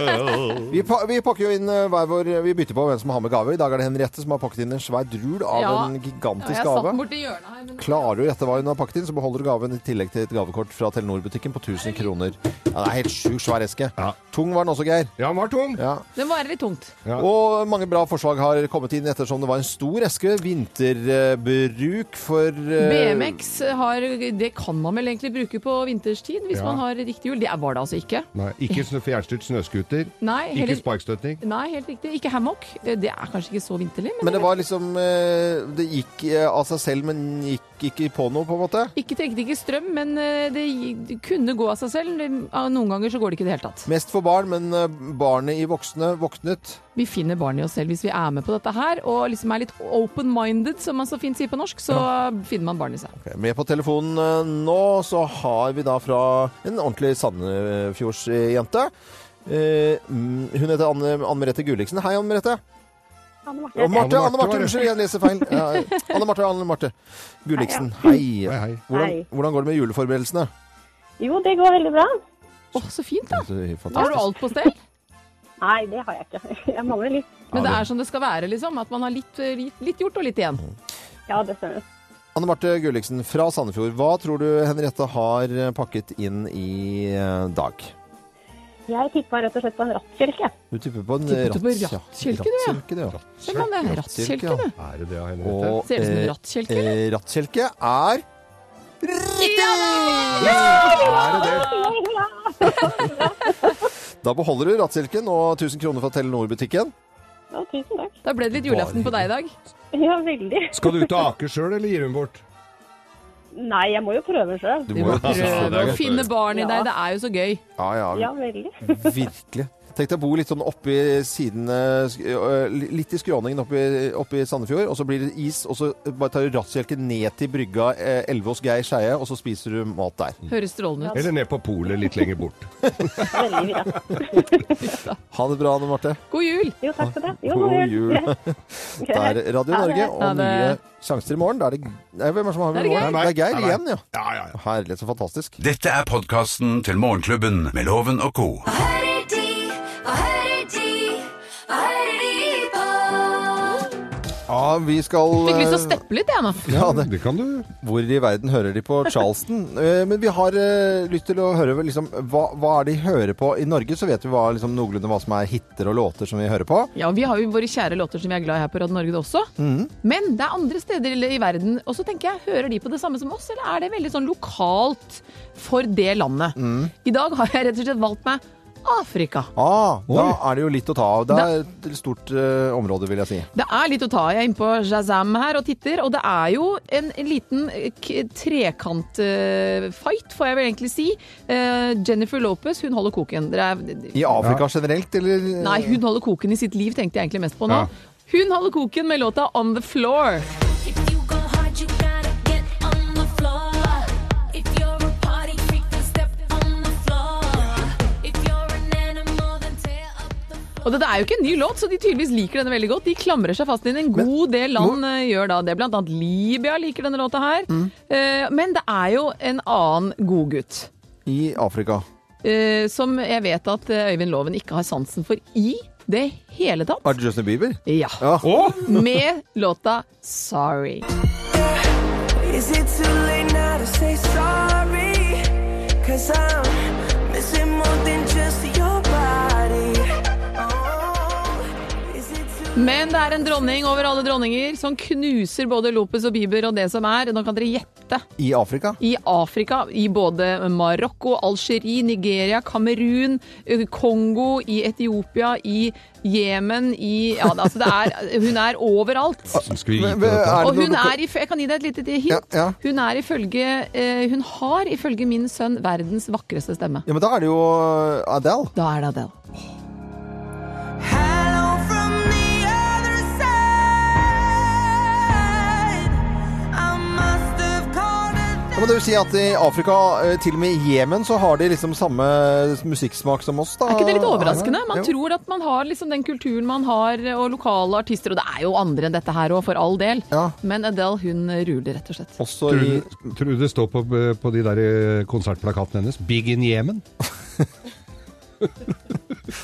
B: Vi, vi, pa, vi pakker jo inn eh, hver vår Vi bytter på hvem som har med gave. I dag er det Henriette som har pakket inn en svær drul av
C: Ja.
B: en
C: Ja,
B: gigantisk
C: jeg satt
B: gave.
C: den borti hjørnet her, men
B: Klarer du å gjette hva hun har pakket inn, så beholder du gaven i tillegg til et gavekort fra Telenor-butikken på 1000 kroner. Ja, det er helt sjukt svær eske.
D: Ja.
B: Tung var den også, Geir.
D: Ja, han var tung.
B: Ja.
C: det må være litt tungt.
D: Ja.
B: Og mange bra forslag har kommet inn ettersom det var en stor eske. Vinterbruk for eh,
C: BMX Latex har, det kan man vel egentlig bruke på vinterstid hvis
D: Ja.
C: man har riktig hjul. Det var det altså ikke.
D: Nei, ikke snø- fjernstyrt snøskuter.
C: Nei,
D: Ikke
C: heller-
D: sparkstøtning.
C: Nei, helt riktig. Ikke hammock. Det er kanskje ikke så vinterlig, men,
B: Men det var liksom eh, Det gikk eh, av seg selv, men gikk ikke på noe, på en måte.
C: ikke trengte ikke strøm, men eh, det gi- kunne gå av seg selv. Det- ah, Noen ganger så går det ikke i det hele tatt.
B: Mest for barn, men eh, barnet i voksne våknet.
C: Vi finner barn i oss selv hvis vi er med på dette her, og liksom er litt open-minded, som man så fint sier på norsk, så finner man barn i seg.
B: Ok, Med på telefonen eh, nå så har vi da fra en ordentlig Sandefjordsjente. Eh, mm, hun heter Anne, Anne Merete Gulliksen. Hei, Anne Merete.
H: Anne Marte.
B: Og Marte,
D: Anne Marte
B: Anne Marte,
D: var det.
B: unnskyld, jeg leser feil. Ja, Anne Marte, Anne Marte Gulliksen. Hei.
D: Hei, hei.
B: Hvordan,
I: Hei.
B: hvordan går det med juleforberedelsene?
I: Jo, det går veldig bra.
C: Å, så fint, da!
B: Det er
C: Har du
B: Fantastisk.
C: alt på stell?
I: Nei, det har jeg ikke. Jeg mangler litt.
C: Men det er som det skal være, liksom. At man har litt, litt, litt gjort og litt igjen.
B: Mm,
I: Ja, det stemmer.
B: Anne Marte Gulliksen fra Sandefjord, hva tror du Henriette har eh, pakket inn i eh, dag?
I: Jeg tippa rett og slett på en rattkjelke.
B: Du tipper på en
C: Tipper du på
B: rattkjelke,
C: rattkjelke, du, ja?
B: Rattkjelke, du, ja.
C: Hvem er det? Rattkjelke, du.
D: Er det det, Henriette?
B: Og
C: Ser ut som en
B: eh,
C: rattkjelke, eller?
B: eh, rattkjelke er riktig!
D: Er det det?
B: Da beholder du rattkjelken og 1000 kroner fra Telenor-butikken.
I: Ja, tusen
B: eh,
I: takk.
C: Da ble det litt julaften på deg i dag.
I: Ja, veldig.
D: Skal du ut og ake sjøl, eller gir hun bort?
I: Nei, jeg må jo prøve sjøl.
B: Du
C: Du
B: må
C: må
B: jo
D: det er
C: prøve å
D: godt.
C: finne barn i
I: Ja.
C: deg, det er jo så gøy.
B: Ja, ja,
I: Ja, veldig.
B: virkelig. Tenk deg å bo litt sånn oppi sidene sk- eh, ø, Litt i skråningen oppi, oppi Sandefjord, og så blir det is, og så bare tar du rattkjelken ned til brygga eh, Elve hos Geir Skeie, og så spiser du mat der.
C: Høres strålende ut.
D: Eller ned på polet litt lenger bort?
I: Veldig bra.
B: Ha det bra, Anne Marte.
C: God jul!
I: Jo, takk for det. Jo,
B: God
I: god
B: jul. Det er Radio
I: Ha det.
B: Norge og
C: Ha det.
B: nye sjanser i morgen. Da er det Nei, hvem er det som har
C: Det er Geir.
B: morgen? Det er Geir igjen, ja.
D: Ja, ja, ja.
B: Herlig, så fantastisk.
A: Dette er podkasten til Morgenklubben med Loven og co.
F: Hva hører de? Hva hører de? Hva hører de på?
B: Ja, vi skal
C: Fikk lyst til å
B: eh,
C: steppe litt, jeg nå.
B: Ja, det.
D: Det kan du.
B: Hvor i verden hører de på Charleston? Eh, Men vi har eh, lyst til å høre vel liksom, hva, hva er det de hører på. I Norge så vet vi hva, liksom, noenlunde hva som er hiter og låter som vi hører på.
C: Ja, vi har jo våre kjære låter som vi er glad i her på Radio Norge det også. Men det er andre steder i- i verden. Og så tenker jeg, hører de på det samme som oss, eller er det veldig sånn lokalt for det landet? I dag har jeg rett og slett valgt meg Afrika.
B: Ah, da er det jo litt å ta av. Det er et stort eh, område, vil jeg si.
C: Det er litt å ta. Jeg er inne på Shazam her og titter, og det er jo en, en liten eh, trekantfight, eh, får jeg vel egentlig si. Eh, Jennifer Lopez, hun holder koken. Dere er,
B: I Afrika generelt, eller?
C: nei, hun holder koken i sitt liv, tenkte jeg egentlig mest på nå.
D: Ja.
C: Hun holder koken med låta 'On The Floor'.
F: If you go hard, you gotta get on the floor. If you're a party freak, then step on the floor. If you're an animal, then tear up the floor.
C: Og dette er jo ikke en ny låt, så de tydeligvis liker denne veldig godt. De klamrer seg fast inn. En god del land eh, gjør da det. Blant annet Libya liker denne låta her. Eh, men det er jo en annen godgutt.
B: I Afrika.
C: eh, som jeg vet at eh, Øyvind Loven ikke har sansen for i det hele tatt.
B: Er det Justin Bieber?
C: Ja.
B: Ja.
C: Med låta 'Sorry'.
F: Is it too late now to say sorry? Cause I'm missing more than just your body. Oh, is it too
C: Men det er en dronning over alle dronninger som knuser både Lopez og Bieber og det som er. Nå kan dere gjette.
B: I Afrika?
C: I Afrika, i både Marokko, Algerie, Nigeria, Kamerun, eh, Kongo, i Etiopia, i Jemen, i Ja, altså det er Hun er overalt.
D: Som skal vi gi
B: Men-
D: til
B: men
D: dette?
B: er Ah, det
C: Og
B: noe
C: hun
B: du kan-
C: er, if- jeg kan gi deg et lite hint.
B: Ja, ja.
C: Hun, er ifølge, eh, hun har ifølge min sønn verdens vakreste stemme.
B: Ja, men da er det jo eh, Adele.
C: Da er det Adele.
F: Hello from the other side. I must have called it
B: Ja, men det vil si at i Afrika, eh, til og med i Jemen, så har de liksom samme musikksmak som oss, da.
C: Er ikke det litt overraskende? Man
B: Jo.
C: tror at man har liksom den kulturen man har, eh, og lokale artister, og det er jo andre enn dette her òg, for all del.
B: Ja.
C: Men Adele, hun ruler, rett og slett.
B: Også
D: Tror
B: i
D: du- Tror du det står på, på de der eh, konsertplakatene hennes 'Big in Yemen'?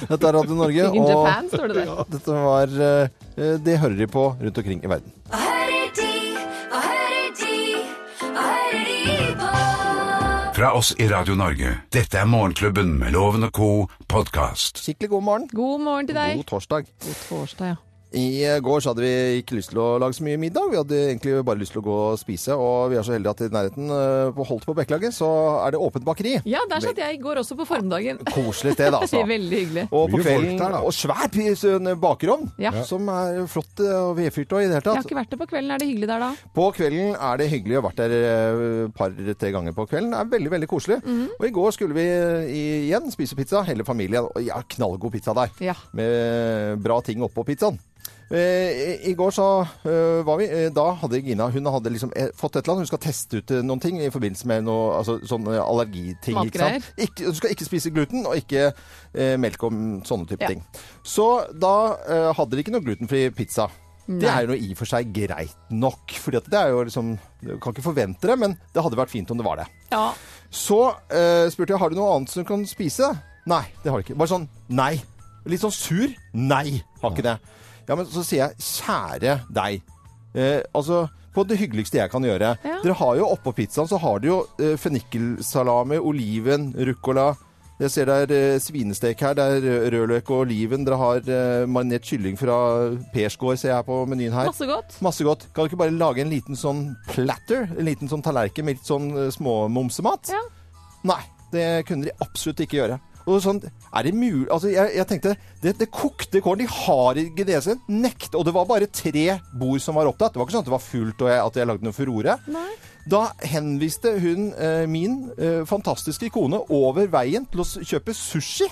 B: Dette er Radio Norge,
C: In
B: og
C: Japan, står det der.
B: Dette var eh, Det hører de på rundt omkring i verden.
F: Hva hører de? Hva hører de? Hva hører de på?
A: Fra oss i Radio Norge. Dette er Morgenklubben med Loven og co. podkast.
B: Skikkelig god morgen.
C: God morgen til deg.
B: God torsdag.
C: God torsdag, ja.
B: I eh, går så hadde vi ikke lyst til å lage så mye middag. Vi hadde egentlig bare lyst til å gå og spise. Og vi er så heldige at i nærheten eh, på Holt på Bekkelaget så er det åpent bakeri.
C: Ja, der satt jeg i går også på formiddagen.
B: Koselig sted, altså.
C: Veldig hyggelig.
B: Og på
D: Mye folk
B: kvelden,
D: der, da.
B: og svær pi- sånn bakerovn,
C: Ja.
B: som er flott eh, og vedfyrt og i det hele
C: Jeg har
B: tatt.
C: ikke vært der på kvelden. Er det hyggelig der da?
B: På kvelden er det hyggelig. Jeg har vært der et par-tre ganger på kvelden. Det er veldig, veldig koselig. Og i går skulle vi eh, i- igjen spise pizza, hele familien. Og ja, knallgod pizza der.
C: Ja.
B: Med bra ting oppå pizzaen. Eh, I i går så eh, var vi eh, Da hadde Gina Hun hadde liksom eh, fått et eller annet. Hun skal teste ut eh, noen ting i forbindelse med noe altså, sånn eh, allergiting. Ikke sant?
C: Matgreier.
B: Ikke, hun skal ikke spise gluten, og ikke eh, melk og mm, sånne type
C: Ja.
B: ting. Så da eh, hadde de ikke noe glutenfri pizza. Det er jo noe i og for seg greit nok. Fordi at det er jo liksom Du kan ikke forvente det, men det hadde vært fint om det var det.
C: Ja.
B: Så eh, spurte jeg har du noe annet som du kan spise. Nei, det har du ikke. Bare sånn nei. Litt sånn sur. Nei, har ikke det. Ja, men så sier jeg kjære deg. Eh, altså på det hyggeligste jeg kan gjøre.
C: Ja.
B: Dere har jo oppå pizzaen så har dere jo eh, fennikelsalami, oliven, ruccola. Jeg ser det er eh, svinestek her, det er rø- rødløk og oliven. Dere har eh, marinert kylling fra Persgård, ser jeg på menyen her.
C: Masse godt.
B: Masse godt. Kan du ikke bare lage en liten sånn platter? En liten sånn tallerken med litt sånn eh, småmomsemat?
C: Ja.
B: Nei, det kunne de absolutt ikke gjøre. Og sånn, er det mulig Altså, jeg, jeg tenkte det, det kokte kålen. De har ikke det sin. Nekt. Og det var bare tre bord som var opptatt. Det var ikke sånn at det var fullt og jeg, at jeg lagde noe furore.
C: Nei.
B: Da henviste hun eh, min eh, fantastiske kone over veien til å s- kjøpe sushi.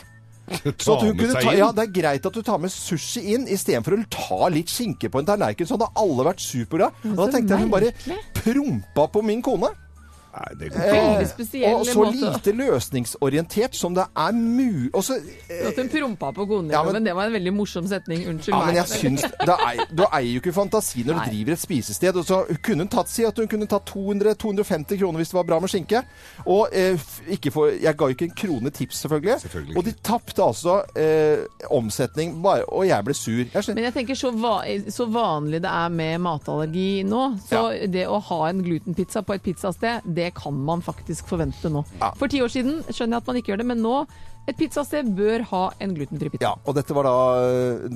B: Så at hun kunne ta, ja, Det er greit at du tar med sushi inn istedenfor å ta litt skinke på en tallerken. Så hadde alle vært superglade. Og da
C: så
B: tenkte jeg hun bare
C: merkelig.
B: prompa på min kone.
D: Nei, det går ikke
C: Veldig
D: an.
C: spesiell
B: Eh, og så
C: måte.
B: lite løsningsorientert som det er mu... Og så
C: At hun prompa på konen din,
B: Ja, men-
C: men, det var en veldig morsom setning. Unnskyld
B: Ja, men
C: meg.
B: jeg syns da ei- Du eier jo ikke fantasi når du
C: Nei.
B: driver et spisested. Og så kunne hun tatt si at hun kunne tatt 200-250 kroner hvis det var bra med skinke. Og eh, f- ikke for, jeg ga jo ikke en krone tips, selvfølgelig.
D: Selvfølgelig
B: Og de tapte altså eh, omsetning, bare, og jeg ble sur. Jeg skjønner.
C: Men jeg tenker så, va så vanlig det er med matallergi nå, så det å ha en glutenpizza på et pizzasted, det kan man faktisk forvente nå.
B: Ja.
C: For ti år siden skjønner jeg at man ikke gjør det, men nå et pizzasted bør ha en glutenfri pizza.
B: Ja, og dette var da,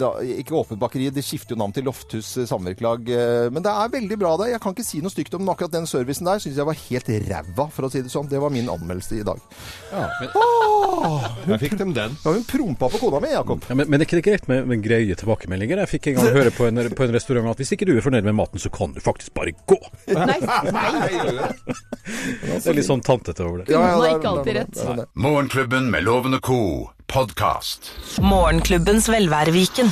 B: da ikke Åpent bakeri, de skifter jo navn til Lofthus eh, Samvirkelag. eh, Men det er veldig bra det. Jeg kan ikke si noe stygt om den. akkurat den servicen der. Syns jeg var helt ræva, for å si det sånn. Det var min anmeldelse i dag.
D: Der fikk de den.
B: Ja, hun prompa på kona mi, Jakob.
J: Ja, men, men er ikke det greit med, med greie tilbakemeldinger? Jeg fikk en gang høre på en, på en restaurant at hvis ikke du er fornøyd med maten, så kan du faktisk bare gå.
C: Nei,
J: Det er litt sånn tantete over det.
B: Ja, ja,
C: Hun har
B: det er-
C: ikke alltid
B: det er-
C: rett.
B: det er- det er-
A: Morgenklubben med Loven og Co. Podcast.
K: Morgenklubbens velværeviken.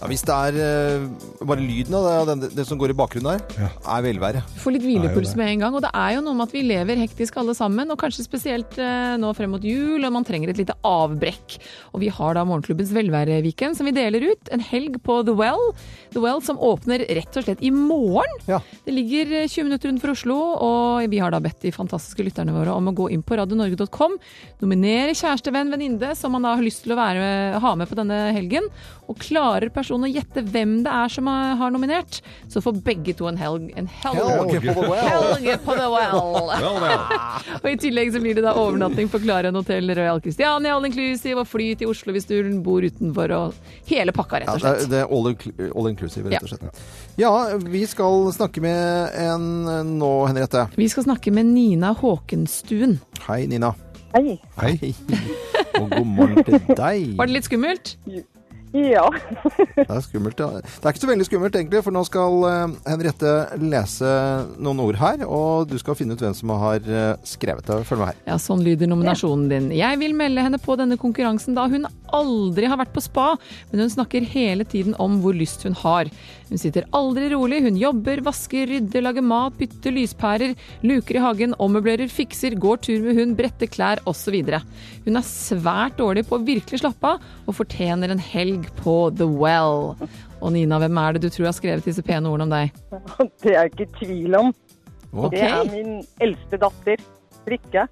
B: Ja, hvis det er eh, bare lyden av det, av den, det som går i bakgrunnen her, er velvære.
C: Du får litt hvilepuls med en gang, og det er jo noe med at vi lever hektisk alle sammen, og kanskje spesielt eh, nå frem mot jul, og man trenger et lite avbrekk. Og vi har da Morgenklubbens velværeviken som vi deler ut, en helg på The Well. The Well som åpner rett og slett i morgen.
B: Ja.
C: Det ligger eh, 20 minutter rundt for Oslo, og vi har da bedt de fantastiske lytterne våre om å gå inn på radionorge.com, nominere kjærestevenn, venninne, som man da har lyst til å være, ha med på denne helgen, og klarer personen å gjette hvem det er som eh, har nominert, så får begge to en helg. En helg.
B: Helge på The Well.
C: Helge på The Well.
D: Vel, vel.
C: Og I tillegg så blir det da overnatting på Klaren hotell Royal Christiania, all inclusive, og fly til Oslo hvis du bor utenfor, og hele pakka, rett
B: Ja,
C: og
B: det,
C: slett.
B: er, det er all, inclu- all inclusive, rett og
C: Ja.
B: slett. Ja, vi skal snakke med en eh, nå, Henriette.
C: Vi skal snakke med Nina Håkenstuen.
B: Hei, Nina.
I: Hei.
B: Hei. Og god morgen til deg.
C: Var det litt skummelt?
I: Ja.
B: Det er skummelt, ja. Det er ikke så veldig skummelt, egentlig, for nå skal eh, Henriette lese noen ord her, og du skal finne ut hvem som har eh, skrevet det. Følg med her.
C: Ja, sånn lyder nominasjonen din. Jeg vil melde henne på denne konkurransen da hun aldri har vært på spa, men hun snakker hele tiden om hvor lyst hun har. Hun sitter aldri rolig, hun jobber, vasker, rydder, lager mat, bytter lyspærer, luker i hagen, ommøblerer, fikser, går tur med hund, bretter klær osv. Hun er svært dårlig på å virkelig slappe av, og fortjener en helg på The Well. Og Nina, hvem er det du tror har skrevet disse pene ordene om deg?
I: Det er jeg ikke i tvil om. Det er
C: Ok.
I: min eldste datter, Rikke.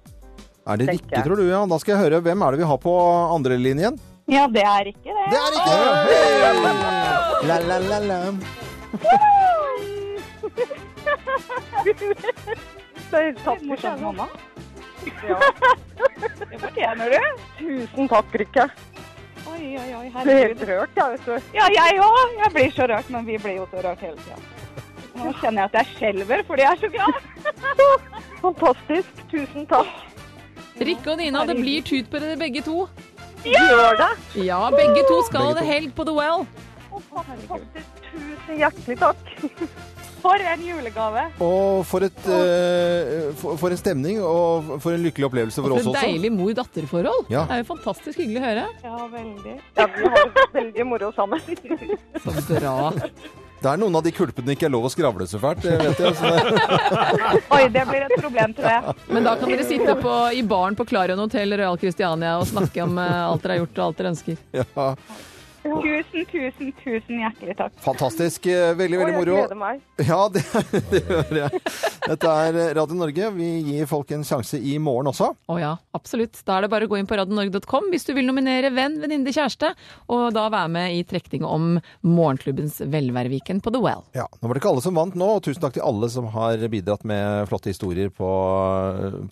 B: Er det
I: Tenker
B: riktig,
I: jeg.
B: tror du? Ja, da skal jeg høre hvem er det vi har på andre linjen.
I: Ja, det er ikke det.
B: Det er ikke Hey! La, la, la, la.
I: Det er tatt for sånn, mamma. Ja. Det fortjener du. Tusen takk, Rikke.
K: Å
I: Oi, oi, oi.
H: herregud.
I: Blir helt rørt, jeg, vet du. Ja, jeg òg. Jeg blir så rørt, men vi blir jo så rørt hele tida. Nå kjenner jeg at jeg skjelver fordi jeg er så glad. Fantastisk. Tusen takk.
C: Rikke og Nina, det blir tut på dere begge to.
I: Ja! Gjør det.
C: Ja, begge to skal
I: Begge to.
C: ha helg på The Well.
I: Fantastisk. Tusen hjertelig takk. For en julegave.
B: Og for, et, eh, for, for en stemning, og for en lykkelig opplevelse for
C: Og
B: oss
C: for et
B: også.
C: deilig mor-datter-forhold.
B: Ja.
C: Det er jo fantastisk hyggelig å høre.
I: Ja, veldig. Ja, vi har det veldig moro sammen.
B: Så bra. Det er noen av de kulpene det ikke er lov å skravle så fælt, det vet jeg. Så det...
I: Oi, det blir et problem, tror jeg.
C: Men da kan dere sitte på, i baren på Clarion Hotel Royal Christiania og snakke om eh, alt dere har gjort og alt dere ønsker.
B: Ja.
I: Tusen, tusen, tusen hjertelig takk.
B: Fantastisk. eh, Veldig, veldig
I: Å, jeg
B: moro.
I: gleder meg.
B: Ja, det, det hører jeg. Dette er Radio Norge. Vi gir folk en sjanse i morgen også.
C: Å ja, absolutt. Da er det bare å gå inn på radionorge.com hvis du vil nominere venn, venninne, kjæreste, og da være med i trekninga om morgenklubbens velværeviken på The Well.
B: Ja, Nå var det ikke alle som vant nå, og tusen takk til alle som har bidratt med flotte historier på,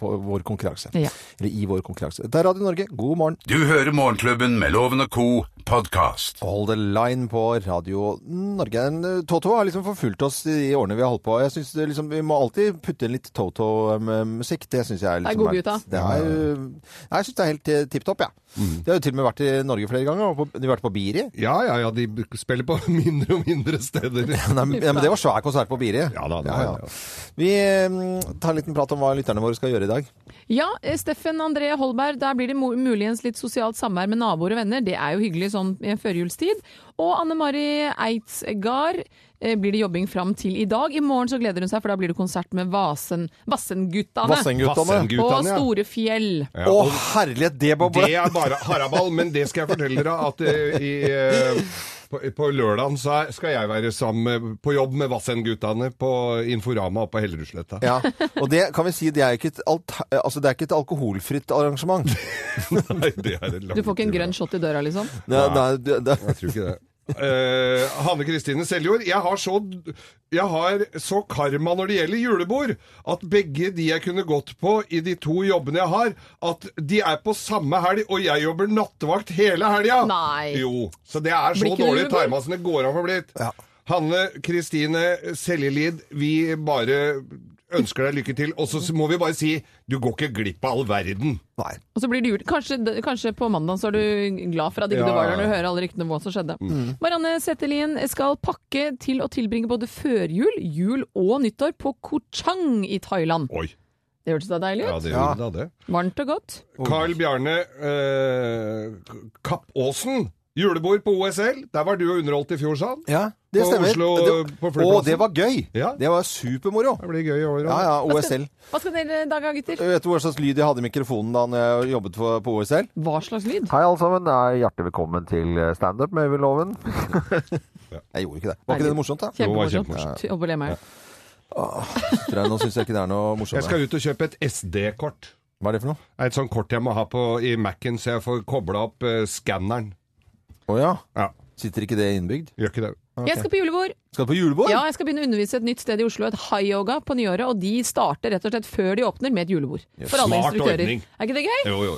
B: på vår konkurranse.
A: Ja.
B: Eller i vår konkurranse. Det er Radio Norge, god morgen.
A: Du hører Morgenklubben med Loven og Co. podkast.
B: Hold the line på Radio Norge. En- Toto har liksom forfulgt oss i de årene vi har holdt på. Jeg synes det liksom, Vi må alltid putte inn litt Toto-musikk. Det syns jeg er
C: Det er
B: liksom
C: godgutta.
B: vært- Det er, eh, jeg syns det er helt eh, tipp topp, jeg. Ja.
D: Mm.
B: De har jo til og med vært i Norge flere ganger. og på- De har vært på Biri.
D: Ja, ja, ja, de b- spiller på mindre og mindre steder.
B: Nei, men- ja, men det var svær konsert på Biri. Ja
D: da, det
B: ja,
D: var
B: ja. Vi eh, tar en liten prat om hva lytterne våre skal gjøre i dag.
C: Ja, eh, Steffen André Holberg, der blir det mo- muligens litt sosialt samvær med naboer og venner. Det er jo hyggelig sånn i en førjulstid. Og Anne Mari Eidsgard eh, blir det jobbing fram til i dag. I morgen så gleder hun seg, for da blir det konsert med Vasen, Vassenguttane.
B: Vassenguttane.
C: Og
D: Vassenguttane, ja.
C: Store Fjell.
D: Ja, og-
B: Å, herlighet, det
D: Det er bare haraball, men det skal jeg fortelle dere at eh, i, eh, på, på lørdagen så er- skal jeg være sammen med, på jobb med Vassendguttene på Inforama oppe på Hellerudsletta.
B: Ja, og det kan vi si, det er jo ikke et, alt, altså, det er ikke et alkoholfritt arrangement.
D: Nei, det er et
C: Du får ikke en grønn shot i døra, liksom?
B: Nei, nei, det, det.
D: Jeg tror ikke det. Eh, Hanne Kristine Seljord, jeg har, så, jeg har så karma når det gjelder julebord, at begge de jeg kunne gått på i de to jobbene jeg har, at de er på samme helg, og jeg jobber nattevakt hele helga!
L: Nei.
D: Jo, så det er så
L: Blir ikke det
D: dårlig
L: julebord?
D: tima som det går an for blitt. Hanne Kristine Seljelid, vi bare ønsker deg lykke til, og så må vi bare si du går ikke glipp av all verden.
B: Nei.
C: Og så blir det jul. Kanskje, kanskje på mandag så er du glad for at ikke
D: Ja,
C: du var der
D: ja. Mm.
C: når du hører alle ryktene om hva som skjedde. Marianne Settelien skal pakke til å tilbringe både førjul, jul og nyttår på Koh Chang i Thailand. Det hørtes da deilig ut?
D: Ja, det gjorde da det.
C: Varmt og godt.
D: Carl Bjarne eh, Kappåsen. Julebord på OSL. Der var du og underholdt i fjor, sa han.
B: Ja, det
D: på
B: stemmer.
D: Oslo,
B: Det-
D: på flyplassen.
B: Å, det var gøy! Det var supermoro.
D: Det blir gøy i år
B: Ja, ja,
C: Hva skal-
B: OSL.
C: Hva skal dere i dag, da, gutter?
B: Vet du hva slags lyd jeg hadde i mikrofonen da jeg jobbet for, på OSL?
C: Hva slags lyd?
B: Hei, alle sammen. Det er Hjertelig velkommen til eh, standup med Øyvind Loven. Jeg gjorde ikke det. Var ikke det morsomt, da?
C: Kjempemorsomt. Ty- Overlev meg.
B: Tror jeg, nå syns jeg ikke det er noe morsomt.
D: Jeg skal ut og kjøpe et SD-kort.
B: Hva er det for noe?
D: Et sånt kort jeg må ha på, i Mac-en, så jeg får kobla opp eh, skanneren.
B: Å ja. Sitter ikke det innbygd?
D: Gjør ikke det.
C: Jeg skal på julebord.
B: Skal du på julebord?
C: Ja, jeg skal begynne å undervise et nytt sted i Oslo, et high-yoga på nyåret, og de starter rett og slett før de åpner med et julebord.
B: Yes.
C: For alle
B: Smart
C: instruktører.
B: ordning.
C: Er ikke det gøy?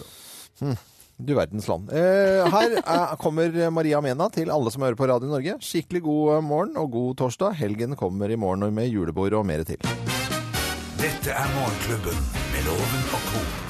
B: Hm, Du verdens land. Eh, her er, kommer Maria Mena til alle som hører på Radio Norge. Skikkelig god eh, morgen og god torsdag. Helgen kommer i morgen med julebord og mer til.
A: Dette er Morgenklubben med Loven og Co.